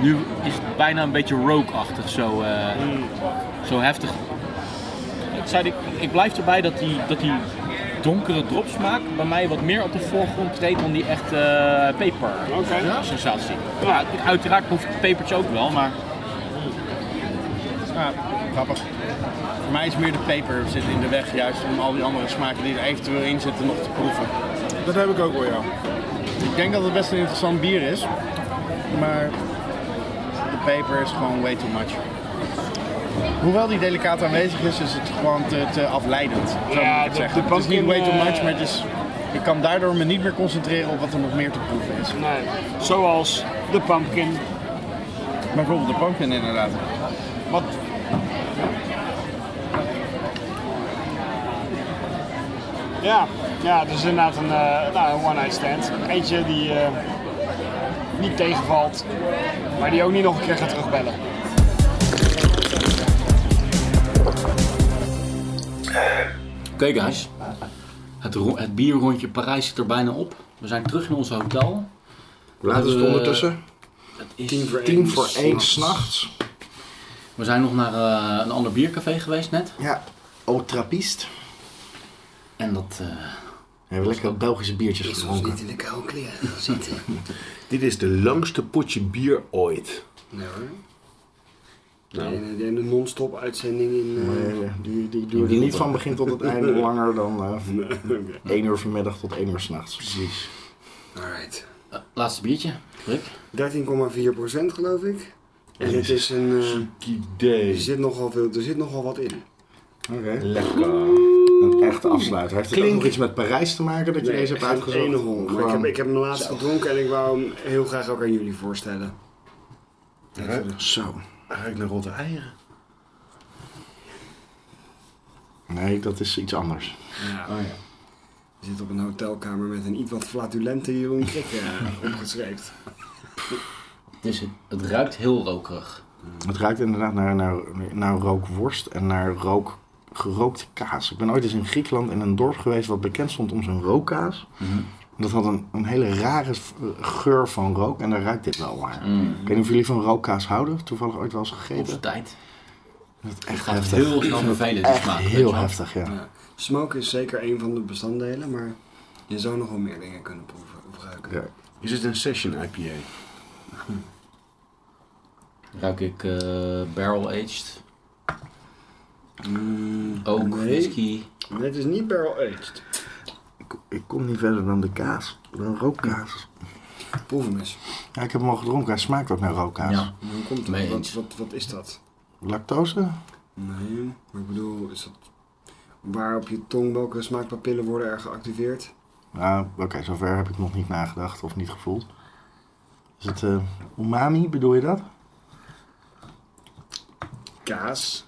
Speaker 1: nu is het bijna een beetje rookachtig, zo, eh,
Speaker 5: Hmm.
Speaker 1: zo heftig. Het zei ik, ik blijf erbij dat die, dat die donkere dropsmaak bij mij wat meer op de voorgrond treedt dan die echte eh, peper
Speaker 5: Oké.
Speaker 1: sensatie. Ja, uiteraard proef ik het pepertje ook wel, maar
Speaker 3: Ja, grappig. Voor mij is meer de peper zit in de weg, juist om al die andere smaken die er eventueel in zitten nog te proeven.
Speaker 2: Dat heb ik ook wel, ja.
Speaker 3: Ik denk dat het best een interessant bier is, maar de peper is gewoon way too much. Hoewel die delicaat aanwezig is, is het gewoon te, te afleidend. Zo
Speaker 5: Ja,
Speaker 3: moet ik het
Speaker 5: de-
Speaker 3: zeggen.
Speaker 5: de
Speaker 3: het is niet way too
Speaker 5: pumpkin, eh,
Speaker 3: much, maar het is, ik kan daardoor me niet meer concentreren op wat er nog meer te proeven is.
Speaker 5: Nee. Zoals de pumpkin.
Speaker 3: Bijvoorbeeld de pumpkin inderdaad. Wat?
Speaker 5: Ja, ja dus inderdaad een, eh, nou, een one-night stand. Eentje die eh, niet tegenvalt, maar die ook niet nog een keer gaat terugbellen.
Speaker 1: Oké guys, het, ro- het bierrondje Parijs zit er bijna op. We zijn terug in ons hotel.
Speaker 6: Hoe laat is het
Speaker 1: Eh,
Speaker 6: ondertussen?
Speaker 1: is
Speaker 3: Tien voor één, voor één s'nachts.
Speaker 12: We zijn nog naar eh, een ander biercafé geweest net.
Speaker 3: Ja, Otrapist.
Speaker 12: En dat... eh,
Speaker 3: We hebben lekker Belgische biertjes gedronken.
Speaker 6: in de koude kleren gaan zitten.
Speaker 13: Dit is de langste potje bier ooit.
Speaker 6: Nee hoor.
Speaker 13: Nou.
Speaker 6: Nee, nee, nee, de non-stop uitzending in... eh,
Speaker 3: Nee, die, die duurde niet van begin tot het einde langer dan eh, van 1 uur vanmiddag tot 1 uur s'nachts. Precies.
Speaker 6: Alright.
Speaker 12: eh, laatste biertje, Rick.
Speaker 6: 13,4 procent geloof ik. En het is een... eh, er,
Speaker 13: Idee.
Speaker 6: zit nogal veel, er zit nogal wat in.
Speaker 3: Oké.
Speaker 13: Lekker.
Speaker 3: Een echte afsluiter. Heeft het ook
Speaker 13: Klink.
Speaker 3: nog iets met Parijs te maken dat je deze hebt uitgezocht?
Speaker 6: Ene hol. Maar ik
Speaker 3: Gewoon-
Speaker 6: heb, ik heb hem laatst gedronken en ik wou hem heel graag ook aan jullie voorstellen. Even Zo.
Speaker 13: Ruikt naar rotte eieren.
Speaker 3: Nee, dat is iets anders. Oh
Speaker 6: Je zit op een hotelkamer met een iets wat flatulente Jeroen Krik eh, opgeschreven.
Speaker 12: Het, is, het ruikt heel rokerig.
Speaker 3: Het ruikt inderdaad naar, naar, naar rookworst en naar rook, gerookte kaas. Ik ben ooit eens in Griekenland in een dorp geweest wat bekend stond om zijn rookkaas. Dat had een, een hele rare v- geur van rook en daar ruikt dit wel naar. Ik weet niet of jullie van rookkaas houden, toevallig ooit wel eens
Speaker 12: Op zijn
Speaker 3: gegeten.
Speaker 12: tijd.
Speaker 3: Dat is echt
Speaker 12: Gaat
Speaker 3: heftig.
Speaker 12: heel snel vervelend
Speaker 3: Echt
Speaker 12: smaken. weet je
Speaker 3: heel
Speaker 12: wel.
Speaker 3: heftig, ja.
Speaker 6: Smoke is zeker een van de bestanddelen, maar je zou nog wel meer dingen kunnen proeven of ruiken.
Speaker 3: Ja.
Speaker 13: Is het een session IPA?
Speaker 12: Ruik ik eh, barrel aged,
Speaker 6: Mm,
Speaker 12: oak,
Speaker 6: nee.
Speaker 12: whisky.
Speaker 6: Nee, het is niet barrel aged.
Speaker 3: Ik, ik kom niet verder dan de kaas, de rookkaas.
Speaker 6: Proef hem eens.
Speaker 3: Ja, ik heb hem al gedronken, hij smaakt ook naar rookkaas.
Speaker 12: Ja.
Speaker 6: Hoe komt
Speaker 12: Mee
Speaker 6: het? Wat,
Speaker 12: eens.
Speaker 6: wat, wat is dat?
Speaker 3: Lactose?
Speaker 6: Nee, maar ik bedoel, is dat waar op je tong welke smaakpapillen worden er geactiveerd?
Speaker 3: Nou, oké, zover heb ik nog niet nagedacht of niet gevoeld. Is het eh, umami, bedoel je dat? Oh,
Speaker 6: Kaas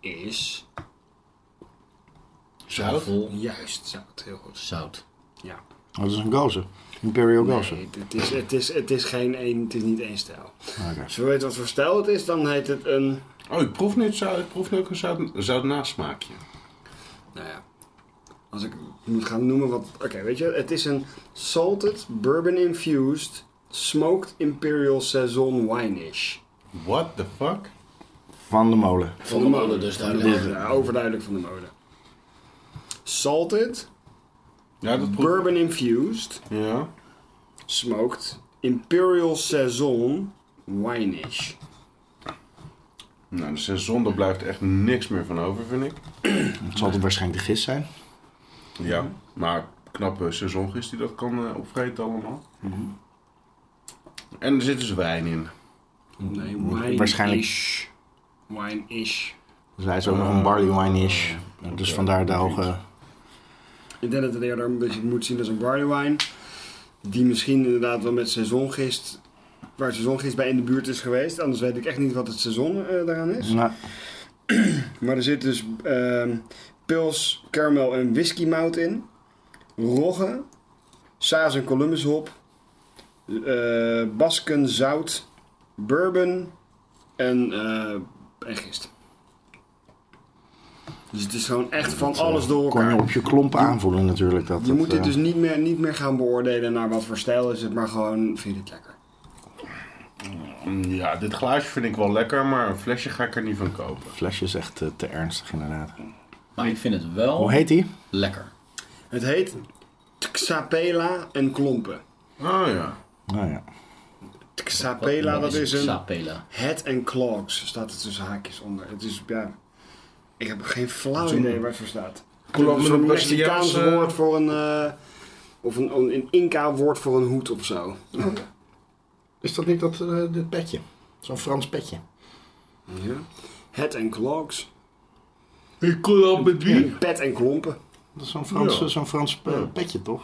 Speaker 6: is
Speaker 12: Zuivel.
Speaker 6: juist zout. Heel goed.
Speaker 12: Zout.
Speaker 3: Oh, dat is een gozer. Imperial gozer.
Speaker 6: Nee, het is, het is, het is geen één, het is niet één stijl.
Speaker 3: Oké.
Speaker 6: Als je weet wat voor stijl het is, dan heet het een...
Speaker 2: Oh, ik proef, net zout, ik proef ook een zout, zout nasmaakje.
Speaker 6: Nou ja, als ik moet gaan noemen wat... Oké, weet je, het is een salted, bourbon-infused, smoked imperial saison wine-ish.
Speaker 2: What the fuck?
Speaker 3: Van de molen.
Speaker 6: Van de molen dus, duidelijk. Ja, overduidelijk van de molen. Salted,
Speaker 2: Ja, dat proef
Speaker 6: bourbon-infused,
Speaker 2: Ja.
Speaker 6: smoked imperial saison wine-ish.
Speaker 2: Nou, de seizoen, daar blijft echt niks meer van over, vind ik.
Speaker 3: Het zal toch waarschijnlijk de gist zijn.
Speaker 2: Ja, maar knappe seizoengist die dat kan eh, opvreten allemaal. En er zit dus wijn in.
Speaker 6: Nee, wine-ish.
Speaker 3: Waarschijnlijk.
Speaker 6: Wine-ish.
Speaker 3: Dus hij is ook nog
Speaker 6: Eh,
Speaker 3: een barley wine-ish. Dus vandaar de hoge...
Speaker 6: Ik denk dat het eerder een beetje moet zien als een barley wine. Die misschien inderdaad wel met seizoengist, waar seizoengist bij in de buurt is geweest. Anders weet ik echt niet wat het seizoen eh, daaraan is.
Speaker 3: Nou,
Speaker 6: Maar er zit dus ehm pils, caramel en whisky mout in. Rogge, saas en Columbus hop. eh, basken zout, bourbon en, eh, en gist. Dus het is gewoon echt van alles door
Speaker 3: eh, kon
Speaker 6: elkaar.
Speaker 3: je op je klompen aanvoelen natuurlijk. Dat
Speaker 6: Je
Speaker 3: het,
Speaker 6: moet dit
Speaker 3: eh,
Speaker 6: dus niet meer, niet meer gaan beoordelen naar wat voor stijl is het, maar gewoon vind je het lekker.
Speaker 2: Mm, Ja, dit glaasje vind ik wel lekker, maar een flesje ga ik er niet van kopen.
Speaker 3: Flesje is echt eh, te ernstig inderdaad.
Speaker 12: Maar ik vind het wel
Speaker 3: Hoe heet die?
Speaker 12: lekker.
Speaker 6: Het heet Xapela en Klompen.
Speaker 2: Oh ja.
Speaker 3: Nou ja.
Speaker 6: Xapela, dat is een
Speaker 12: Sapela.
Speaker 6: head and clogs, staat er tussen haakjes onder. Het is, ja, ik heb geen flauw idee waar het voor staat.
Speaker 2: Klompen,
Speaker 6: Het is een
Speaker 2: een
Speaker 6: Mexicaans
Speaker 2: Braziliaanse-
Speaker 6: woord voor een, eh, of een, een, een Inca woord voor een hoed of
Speaker 2: Oh,
Speaker 6: zo.
Speaker 3: Is dat niet dat dit petje? Zo'n Frans petje.
Speaker 6: Ja. Head and clogs,
Speaker 2: Ik klap met wie?
Speaker 6: pet en klompen.
Speaker 3: Dat is zo'n Frans,
Speaker 2: Ja.
Speaker 3: zo'n Frans eh, petje toch?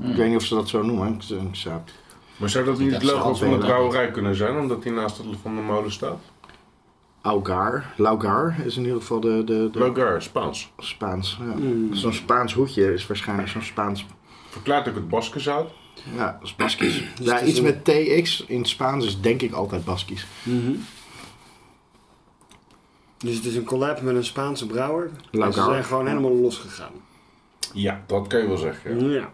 Speaker 3: Ik weet niet of ze dat zo noemen. Ik- ik zou-
Speaker 2: Maar zou dat niet het
Speaker 12: dacht ze
Speaker 2: logo
Speaker 3: had
Speaker 2: van de
Speaker 3: wel, hè.
Speaker 2: brouwerij kunnen zijn, omdat die naast het van de molen staat?
Speaker 3: Augar, Laugar is in ieder geval de, de, de
Speaker 2: Logar, Spaans.
Speaker 3: Spaans. Ja. Zo'n Spaans hoedje is waarschijnlijk zo'n Spaans.
Speaker 2: Verklaart ook het baskenzout.
Speaker 3: Ja, dat is Baskisch.
Speaker 2: Dus
Speaker 3: ja, iets met TX in het Spaans is denk ik altijd Baskisch.
Speaker 6: Dus het is een collab met een Spaanse brouwer. En ze
Speaker 3: Lokaal.
Speaker 6: zijn gewoon helemaal losgegaan.
Speaker 2: Ja, dat kan je wel zeggen. ja.
Speaker 6: Ja.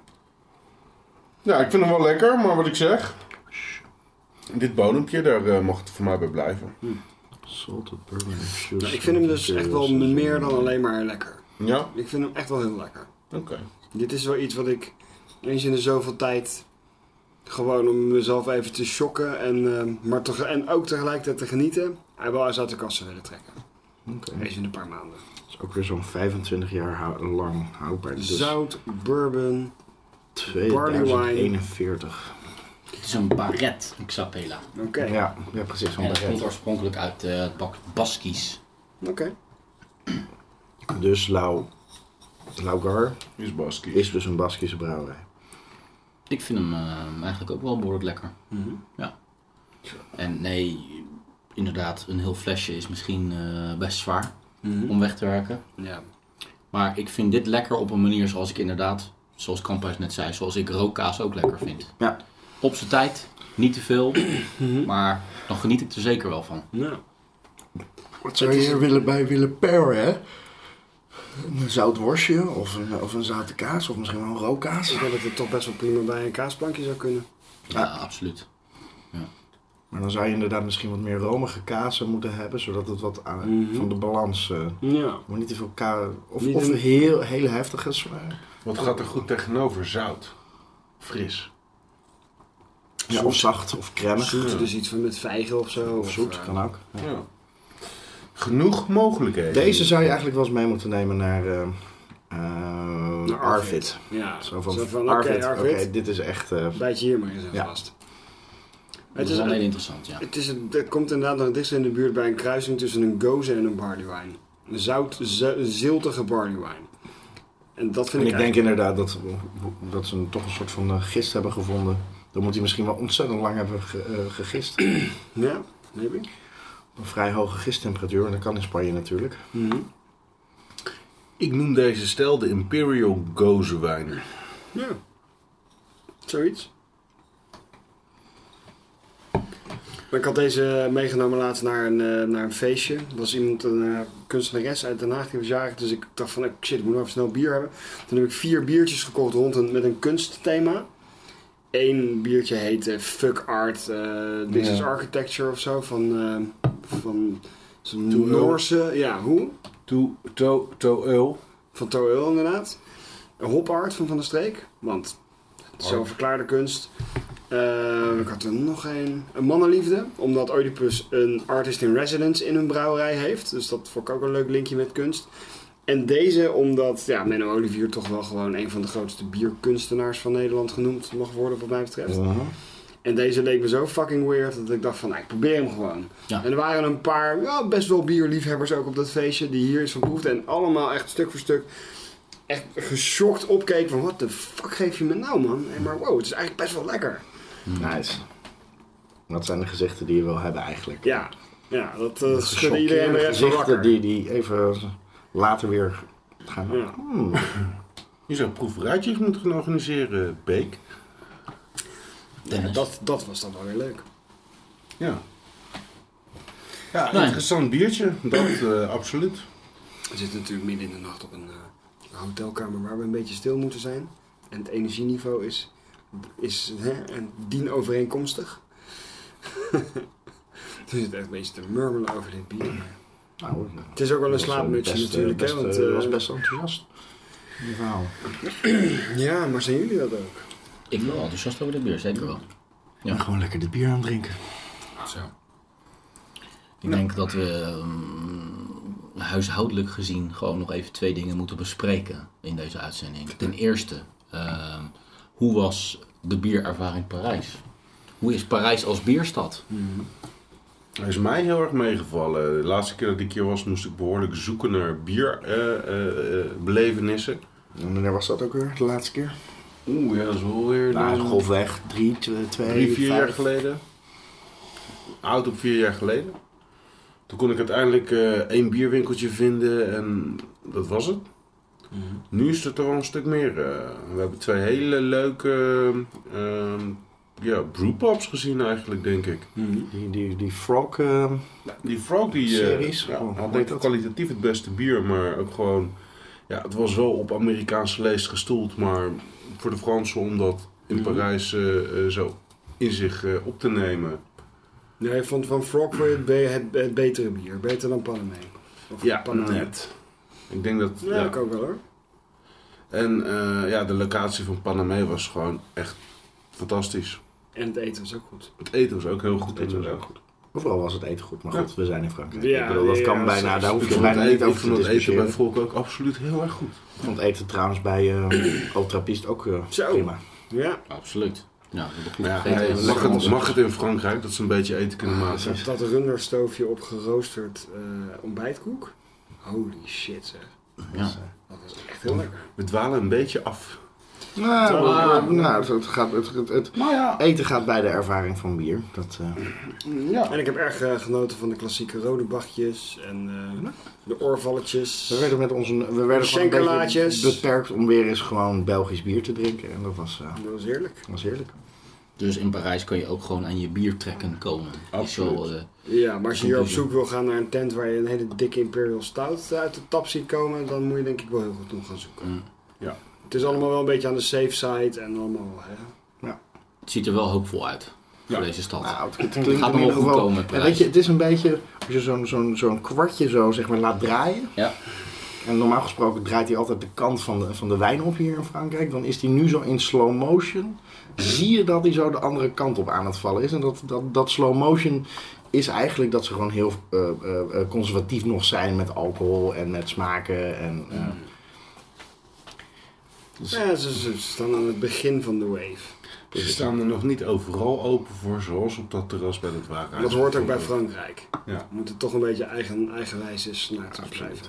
Speaker 2: Ja, ik vind hem wel lekker, maar wat ik zeg. Dit bodempje, daar eh, mag het voor mij bij blijven.
Speaker 3: Salted bourbon and
Speaker 6: Nou,
Speaker 3: sugar.
Speaker 6: ik vind hem dus
Speaker 2: eh,
Speaker 6: echt wel meer dan alleen maar lekker.
Speaker 2: Ja?
Speaker 6: Ik vind hem echt wel heel lekker.
Speaker 2: Oké.
Speaker 6: Dit is wel iets wat ik eens in de zoveel tijd gewoon om mezelf even te shocken en, eh, maar tege- en ook tegelijkertijd te genieten. Hij wel eens uit de kassen willen trekken. Eens in een paar maanden.
Speaker 3: Dat is ook weer zo'n 25 jaar hou- lang houdbaar. Dus
Speaker 6: Zout, bourbon, barley wine.
Speaker 3: 2041.
Speaker 12: Het is een baret, een xapela.
Speaker 6: Oké.
Speaker 3: Ja, ja, precies. zo'n
Speaker 12: En dat
Speaker 3: baguette.
Speaker 12: komt oorspronkelijk uit eh, het bak Baskies.
Speaker 6: Oké.
Speaker 3: Dus Lau, Laugar
Speaker 2: is,
Speaker 3: is dus een Baskische brouwerij.
Speaker 12: Ik vind hem eh, eigenlijk ook wel behoorlijk lekker.
Speaker 6: Mhm.
Speaker 12: Ja. En nee, inderdaad, een heel flesje is misschien eh, best zwaar om weg te werken.
Speaker 6: Mhm. Ja.
Speaker 12: Maar ik vind dit lekker op een manier zoals ik inderdaad, zoals Kamphuis net zei, zoals ik rookkaas ook lekker vind.
Speaker 3: Ja.
Speaker 12: Op zijn tijd, niet te veel, maar dan geniet ik er zeker wel van.
Speaker 6: Mhm. Ja.
Speaker 3: Wat zou je hier willen bij willen paren, hè? Een zout worstje of een, of een zoute kaas of misschien wel een rookkaas.
Speaker 6: Ik denk dat het toch best wel prima bij een kaasplankje zou kunnen.
Speaker 12: Ja, absoluut.
Speaker 3: Maar dan zou je inderdaad misschien wat meer romige kazen moeten hebben, zodat het wat aan, van de balans... eh,
Speaker 6: Ja.
Speaker 3: Maar niet te veel ka Of,
Speaker 6: Niet
Speaker 3: of
Speaker 6: een-
Speaker 3: heel, hele heftige zwaar.
Speaker 2: Wat gaat er goed tegenover? Zout. Fris.
Speaker 3: Ja, of zacht of cremmig.
Speaker 6: Zoet, dus iets van met vijgen of zo. Of
Speaker 3: zoet,
Speaker 6: eh,
Speaker 3: kan ook.
Speaker 2: Ja. Genoeg mogelijkheden.
Speaker 3: Deze zou je eigenlijk wel eens mee moeten nemen naar, eh, eh,
Speaker 6: Naar
Speaker 3: Arvid.
Speaker 6: Ja.
Speaker 3: Zo van,
Speaker 6: Zo van, oké,
Speaker 3: Arvid, oké,
Speaker 6: Arvid.
Speaker 3: dit is echt... eh,
Speaker 6: Bijt je hier maar eens even
Speaker 3: Ja.
Speaker 6: vast.
Speaker 12: Dat is wel heel interessant, ja.
Speaker 6: Het, is, een- het komt inderdaad nog het dichtst in de buurt bij een kruising tussen een goze en een barley wine. Een zout, zu- ziltige barley wine. En dat vind
Speaker 3: en
Speaker 6: ik,
Speaker 3: ik denk
Speaker 6: eigenlijk-
Speaker 3: inderdaad dat, dat ze een- toch een soort van eh, gist hebben gevonden. Dan moet hij misschien wel ontzettend lang hebben ge- eh, gegist.
Speaker 6: Ja, maybe.
Speaker 3: Een vrij hoge gisttemperatuur, en dat kan in Spanje natuurlijk.
Speaker 2: Ik noem deze stijl de Imperial Goze wijn.
Speaker 6: Ja. Zoiets. Maar Ik had deze meegenomen laatst naar een, eh, naar een feestje. Dat was iemand, een eh, kunstenares uit Den Haag, die was jarig. Dus ik dacht van, eh, shit, ik moet nog even snel bier hebben. Toen heb ik vier biertjes gekocht rond een, met een kunstthema. Eén biertje heette Fuck Art, eh, This
Speaker 2: Ja.
Speaker 6: is Architecture of zo. Van, eh, van zo'n
Speaker 2: Toeul.
Speaker 6: Noorse, ja, hoe?
Speaker 2: To, to, to Eul.
Speaker 6: Van Toeul inderdaad. Hop Art van Van der Streek. Want zelfverklaarde kunst. Eh, ik had er nog één. Een mannenliefde. Omdat Oedipus een artist in residence in hun brouwerij heeft. Dus dat vond ik ook een leuk linkje met kunst. En deze omdat ja, Menno Olivier toch wel gewoon een van de grootste bierkunstenaars van Nederland genoemd mag worden wat mij betreft. En deze leek me zo fucking weird dat ik dacht van, nou, ik probeer hem gewoon.
Speaker 12: Ja.
Speaker 6: En er waren een paar ja, best wel bierliefhebbers ook op dat feestje die hier is verproefd. En allemaal echt stuk voor stuk echt geschokt opkeken van, wat de fuck geef je me nou man? En maar wow, het is eigenlijk best wel lekker.
Speaker 3: Nice. Dat zijn de gezichten die je wil hebben eigenlijk.
Speaker 6: Ja, ja dat eh, schudde
Speaker 3: Geschokkeerde
Speaker 6: iedereen de rest van
Speaker 3: gezichten
Speaker 6: wakker.
Speaker 3: die, die even later weer gaan...
Speaker 6: Ja.
Speaker 3: Hmm.
Speaker 2: Je zou proeverijtjes moeten gaan organiseren, Beek.
Speaker 6: Ja, dat, dat was dan wel weer leuk.
Speaker 2: Ja. Nou, Ja,
Speaker 6: Nee.
Speaker 2: interessant biertje. Dat eh, absoluut.
Speaker 6: We zitten natuurlijk midden in de nacht op een eh, hotelkamer waar we een beetje stil moeten zijn. En het energieniveau is, is hè, en dien overeenkomstig. Dus We zitten echt een beetje te murmelen over dit bier. maar
Speaker 3: Nou,
Speaker 6: Het is ook wel een
Speaker 3: dat was, eh,
Speaker 6: slaapmutsje
Speaker 3: best, eh,
Speaker 6: natuurlijk.
Speaker 3: best,
Speaker 6: hè, want,
Speaker 3: eh,
Speaker 6: eh,
Speaker 3: was best enthousiast. Die verhaal.
Speaker 6: Ja, maar zijn jullie dat ook?
Speaker 12: Ik ben wel enthousiast over dit bier, zeker wel. Ja.
Speaker 3: En gewoon lekker dit bier aan het drinken.
Speaker 12: Zo. Ik denk dat we ehm, huishoudelijk gezien gewoon nog even twee dingen moeten bespreken in deze uitzending. Ten eerste, ehm, hoe was de bierervaring Parijs? Hoe is Parijs als bierstad?
Speaker 2: Hij is mij heel erg meegevallen. De laatste keer dat ik hier was, moest ik behoorlijk zoeken naar eh, bierbelevenissen.
Speaker 3: En wanneer was dat ook weer, de laatste keer?
Speaker 2: Oeh, ja, dat is wel weer...
Speaker 3: Nou,
Speaker 2: dan-
Speaker 3: golfweg, drie, twee, twee,
Speaker 2: Drie, vier
Speaker 3: vijf.
Speaker 2: jaar geleden. Oud op vier jaar geleden. Toen kon ik uiteindelijk eh, één bierwinkeltje vinden en dat was het. Nu is het er wel een stuk meer. eh. we hebben twee hele leuke eh, ehm, ja, brewpubs gezien eigenlijk, denk ik.
Speaker 6: Mhm.
Speaker 3: Die, die, die frog... eh,
Speaker 2: Die Frog die, eh,
Speaker 3: Series?
Speaker 2: ja,
Speaker 3: Oh,
Speaker 2: had
Speaker 3: hoe heet
Speaker 2: denk ik kwalitatief het beste bier, maar ook gewoon... Ja, het was wel op Amerikaanse leest gestoeld, maar
Speaker 6: Mhm.
Speaker 2: voor de Fransen om dat in Parijs eh, eh, zo in zich eh, op te nemen...
Speaker 6: Nee, ik vond van Frog voor het, be- het, het betere bier. Beter dan Panamé. Of
Speaker 2: Ja,
Speaker 6: Paname.
Speaker 2: net. Ik denk dat...
Speaker 6: Ja, ik ook wel hoor.
Speaker 2: En eh, ja, de locatie van Paname was gewoon echt fantastisch.
Speaker 6: En het eten is ook goed.
Speaker 2: Het eten was ook heel goed. Het eten was ook goed.
Speaker 3: Overal was het eten goed, maar
Speaker 2: Ja.
Speaker 3: goed, we zijn in Frankrijk.
Speaker 2: Ja,
Speaker 3: ik bedoel, dat
Speaker 2: ja,
Speaker 3: kan
Speaker 2: ja,
Speaker 3: bijna,
Speaker 2: ik
Speaker 3: daar hoef je
Speaker 2: vond
Speaker 3: bijna
Speaker 2: het
Speaker 3: niet
Speaker 2: eten-
Speaker 3: over
Speaker 2: ik
Speaker 3: te
Speaker 2: vond het eten
Speaker 3: discussiëren.
Speaker 2: bij Volk ook absoluut heel erg goed.
Speaker 3: Ik vond het eten trouwens bij eh Ultrapist ook eh, prima.
Speaker 6: Ja.
Speaker 1: Absoluut. Ja, dat heb ik
Speaker 2: Maar
Speaker 1: niet
Speaker 2: ja,
Speaker 1: vergeten.
Speaker 2: hey, mag, het, mag het in Frankrijk dat ze een beetje eten kunnen maken?
Speaker 6: Zat dat runderstoofje op geroosterd eh, ontbijtkoek? Holy shit zeg.
Speaker 2: Ja.
Speaker 6: Dat is echt heel lekker.
Speaker 2: We dwalen een beetje af.
Speaker 3: Nou,
Speaker 2: Ah.
Speaker 3: nou, nou, het, het gaat, het, het, het eten gaat bij de ervaring van bier. Dat, eh,
Speaker 6: Ja. En ik heb erg eh, genoten van de klassieke rode bachjes en eh, de oorvalletjes.
Speaker 3: we werden, met onze, we werden gewoon een
Speaker 6: Schenkelaatjes.
Speaker 3: beetje beperkt om weer eens gewoon Belgisch bier te drinken. En dat was, eh,
Speaker 6: Dat was heerlijk.
Speaker 3: was heerlijk.
Speaker 1: Dus in Parijs kan je ook gewoon aan je biertrekken komen. eh, Absoluut.
Speaker 6: Ja, maar als je hier op zoek wil gaan naar een tent waar je een hele dikke Imperial Stout uit de tap ziet komen, dan moet je denk ik wel heel goed om gaan zoeken.
Speaker 2: Ja.
Speaker 6: Het is allemaal wel een beetje aan de safe side en allemaal. Hè?
Speaker 1: Het ziet er wel hoopvol uit voor deze stad.
Speaker 3: het
Speaker 1: gaat
Speaker 3: in
Speaker 1: allemaal
Speaker 3: ieder
Speaker 1: goed
Speaker 3: geval-
Speaker 1: komen.
Speaker 3: En
Speaker 1: Parijs.
Speaker 3: weet je, het is een beetje, als je zo'n zo'n zo'n kwartje zo zeg maar laat draaien.
Speaker 1: Ja.
Speaker 3: En normaal gesproken draait hij altijd de kant van de, van de wijn op hier in Frankrijk. Dan is hij nu zo in slow motion.
Speaker 1: Mhm.
Speaker 3: Zie je dat hij zo de andere kant op aan het vallen is. En dat, dat, dat slow motion is eigenlijk dat ze gewoon heel eh, eh, eh, conservatief nog zijn met alcohol en met smaken. En, eh,
Speaker 1: Mhm.
Speaker 6: Ja, ze, ze staan aan het begin van de wave.
Speaker 2: Ze staan er nog niet overal open voor, zoals op dat terras bij dat wagen.
Speaker 6: Dat hoort ook bij Frankrijk.
Speaker 2: Ja.
Speaker 6: We moeten toch een beetje eigen, eigenwijze snaar blijven.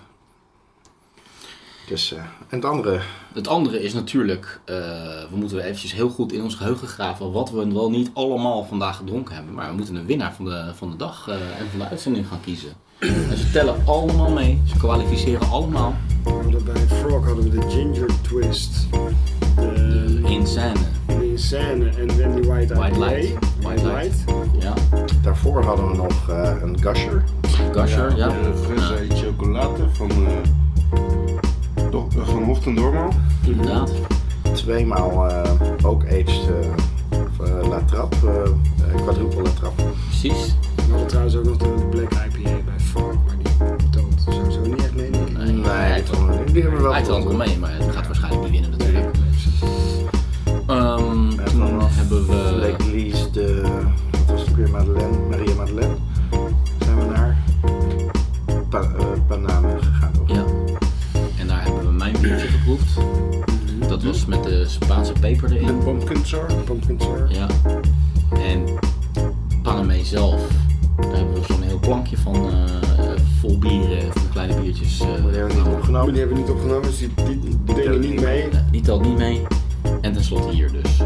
Speaker 3: Dus, en het andere?
Speaker 1: Het andere is natuurlijk, eh, we moeten weer eventjes heel goed in ons geheugen graven wat we wel niet allemaal vandaag gedronken hebben. Maar we moeten een winnaar van de, van de dag eh, en van de uitzending gaan kiezen. En ze tellen allemaal mee, ze kwalificeren allemaal.
Speaker 6: hadden bij Frog hadden we de Ginger Twist. De
Speaker 1: Insane.
Speaker 6: De Insane en Randy White IPA.
Speaker 1: White Light. White Light. Ja.
Speaker 3: Daarvoor hadden we nog eh, een gusher.
Speaker 1: Gusher, ja.
Speaker 2: De frisse chocolade van, eh, Do- eh, van Hocht en Dormaal.
Speaker 1: Inderdaad.
Speaker 3: Tweemaal eh ook aged eh eh, La Trappe, eh, eh, quadruple La Trappe.
Speaker 1: Precies.
Speaker 6: We hadden trouwens ook nog de Black IPA bij Frog, maar die toont sowieso niet echt mee. denk ik.
Speaker 1: Nee, hij
Speaker 3: heeft die hebben we wel
Speaker 1: Hij telt wel mee, maar het gaat waarschijnlijk niet winnen natuurlijk. Ehm, toen hebben we...
Speaker 3: Lake Lees, de. Wat was het ook weer? Madeleine, Maria Madeleine. Zijn we naar. Pa, eh, Paname gegaan, toch?
Speaker 1: Ja. En daar hebben we mijn biertje geproefd. Dat was met de Spaanse peper erin. De
Speaker 2: pumpkin sour.
Speaker 6: Pumpkin sour.
Speaker 1: Ja. En Paname zelf. Daar hebben we zo'n heel plankje van eh, vol bieren, van kleine biertjes. eh
Speaker 3: opgenomen.
Speaker 6: Die hebben we niet opgenomen, dus die, die, die delen niet mee.
Speaker 1: Eh, die telt niet mee. En tenslotte hier dus.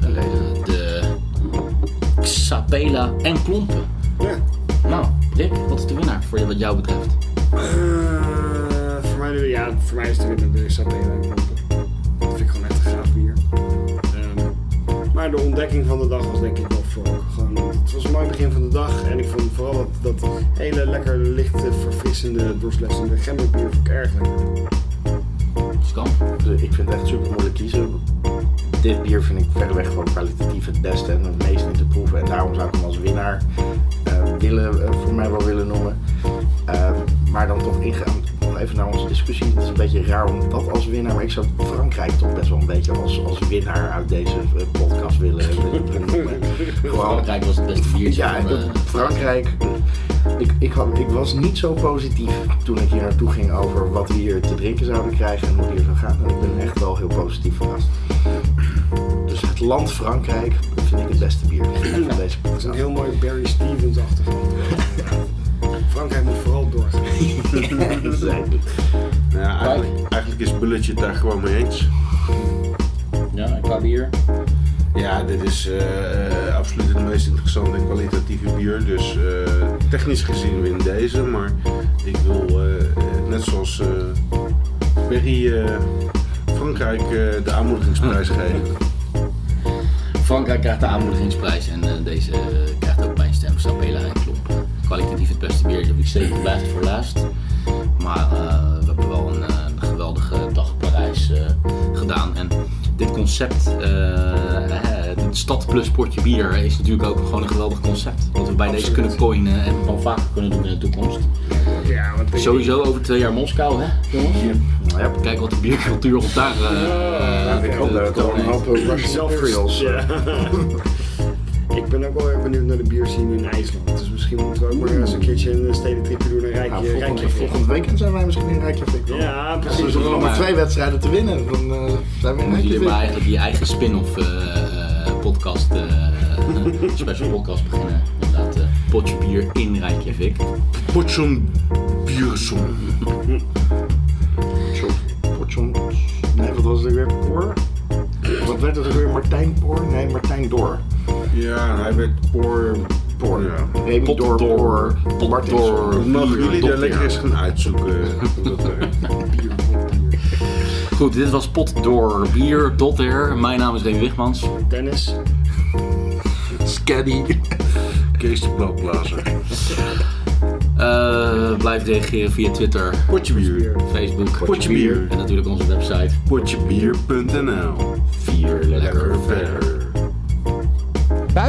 Speaker 1: Eh, de Xapela en Klompen. Nou, Rick, wat is de winnaar voor wat jou betreft?
Speaker 6: Eh, voor, mij, de- ja, voor mij is de winnaar de Sapé Dat vind ik gewoon echt een gaaf bier. Ehm, maar de ontdekking van de dag was denk ik wel Frog. Gewoon, het was een mooi begin van de dag en ik vond vooral dat, dat hele lekker lichte, verfrissende, doorslessende gemberbier vond ik erg lekker.
Speaker 1: Skamp.
Speaker 3: Dus Ik vind het echt super moeilijk kiezen. Dit bier vind ik verreweg gewoon kwalitatief het beste en het meest in te proeven. En daarom zou ik hem als winnaar eh, willen, eh, voor mij wel willen noemen. Eh, maar dan toch ingaan, nog even naar onze discussie. Het is een beetje raar om dat als winnaar, maar ik zou Frankrijk toch best wel een beetje als, als winnaar uit deze eh, podcast willen, willen noemen.
Speaker 1: Frankrijk was het beste biertje.
Speaker 3: Ja,
Speaker 1: van, eh,
Speaker 3: Frankrijk. Ik, ik, had- ik was niet zo positief toen ik hier naartoe ging over wat we hier te drinken zouden krijgen en hoe het hier zou gaan. En ik ben echt wel heel positief verrast. Dus het land Frankrijk vind ik het beste bier van deze
Speaker 6: Dat is een heel mooi Barry Stevens-achtig. Frankrijk moet vooral doorgaan.
Speaker 2: Nou ja, eigenlijk, eigenlijk is Bulletje het daar gewoon mee eens.
Speaker 1: Ja, en qua bier?
Speaker 2: Ja, dit is eh, eh, absoluut het meest interessante en kwalitatieve bier. Dus eh, technisch gezien win deze. Maar ik wil, eh, eh, net zoals eh Perry, eh, Frankrijk eh, de aanmoedigingsprijs
Speaker 5: Hm.
Speaker 2: geven.
Speaker 1: Frankrijk krijgt de aanmoedigingsprijs en eh, deze eh, krijgt ook mijn stem. Sabela en Klomp. Kwalitatief het beste bier, dat heb ik zeker blijft voor laatst. Maar eh, we hebben wel een eh, geweldige dag Parijs eh, gedaan. En dit concept. eh, hè, het stad plus potje bier is natuurlijk ook gewoon een geweldig concept. Wat we bij deze kunnen coinen en gewoon vaker kunnen doen in de toekomst.
Speaker 14: Ja, want
Speaker 1: Sowieso over twee jaar Moskou, hè, jongens? Nou Ja. Kijk wat de biercultuur op daar. eh,
Speaker 5: ik hoop
Speaker 1: te
Speaker 5: dat het
Speaker 1: tonen
Speaker 5: wel een
Speaker 1: heeft.
Speaker 5: hoop Russian Imperials.
Speaker 6: Ja. Ik ben ook wel erg benieuwd naar de bierscene in IJsland. Dus misschien moeten we ook maar eens een keertje een stedentripje doen naar
Speaker 5: Nou,
Speaker 6: Rijkje.
Speaker 5: volgend, volgend weekend zijn wij misschien in Rijkjavik. wel.
Speaker 6: Ja, precies.
Speaker 5: Als we er nog maar twee wedstrijden te winnen, dan eh, zijn we in
Speaker 1: Moeten jullie maar
Speaker 5: Rijkjavik.
Speaker 1: eigenlijk je eigen spin-off eh, eh, podcast, eh, eh, special podcast beginnen. Inderdaad, eh, potje bier in Rijkjavik.
Speaker 2: Potjom biersom.
Speaker 5: Potjon. Nee, wat was het ook weer? Poor? Wat werd het ook weer? Martijn Poor? Nee, Martijn Door.
Speaker 2: Ja, hij werd Poor. Poor. Ja.
Speaker 5: Remy Door Poor. Bart Door.
Speaker 2: Mogen jullie daar
Speaker 5: Dot-
Speaker 2: lekker
Speaker 5: ja.
Speaker 2: eens gaan uitzoeken? Dat, eh,
Speaker 1: Goed, dit was Pot door Bier, Dotter. Mijn naam is Remy Wigmans.
Speaker 6: Dennis.
Speaker 1: Scaddy.
Speaker 2: Kees de Blauwblazer.
Speaker 1: Eh, blijf reageren via Twitter.
Speaker 2: Potje bier.
Speaker 1: Facebook.
Speaker 2: Potje bier.
Speaker 1: En natuurlijk onze website.
Speaker 2: Potjebier.nl.
Speaker 1: Vier lekker
Speaker 2: verder.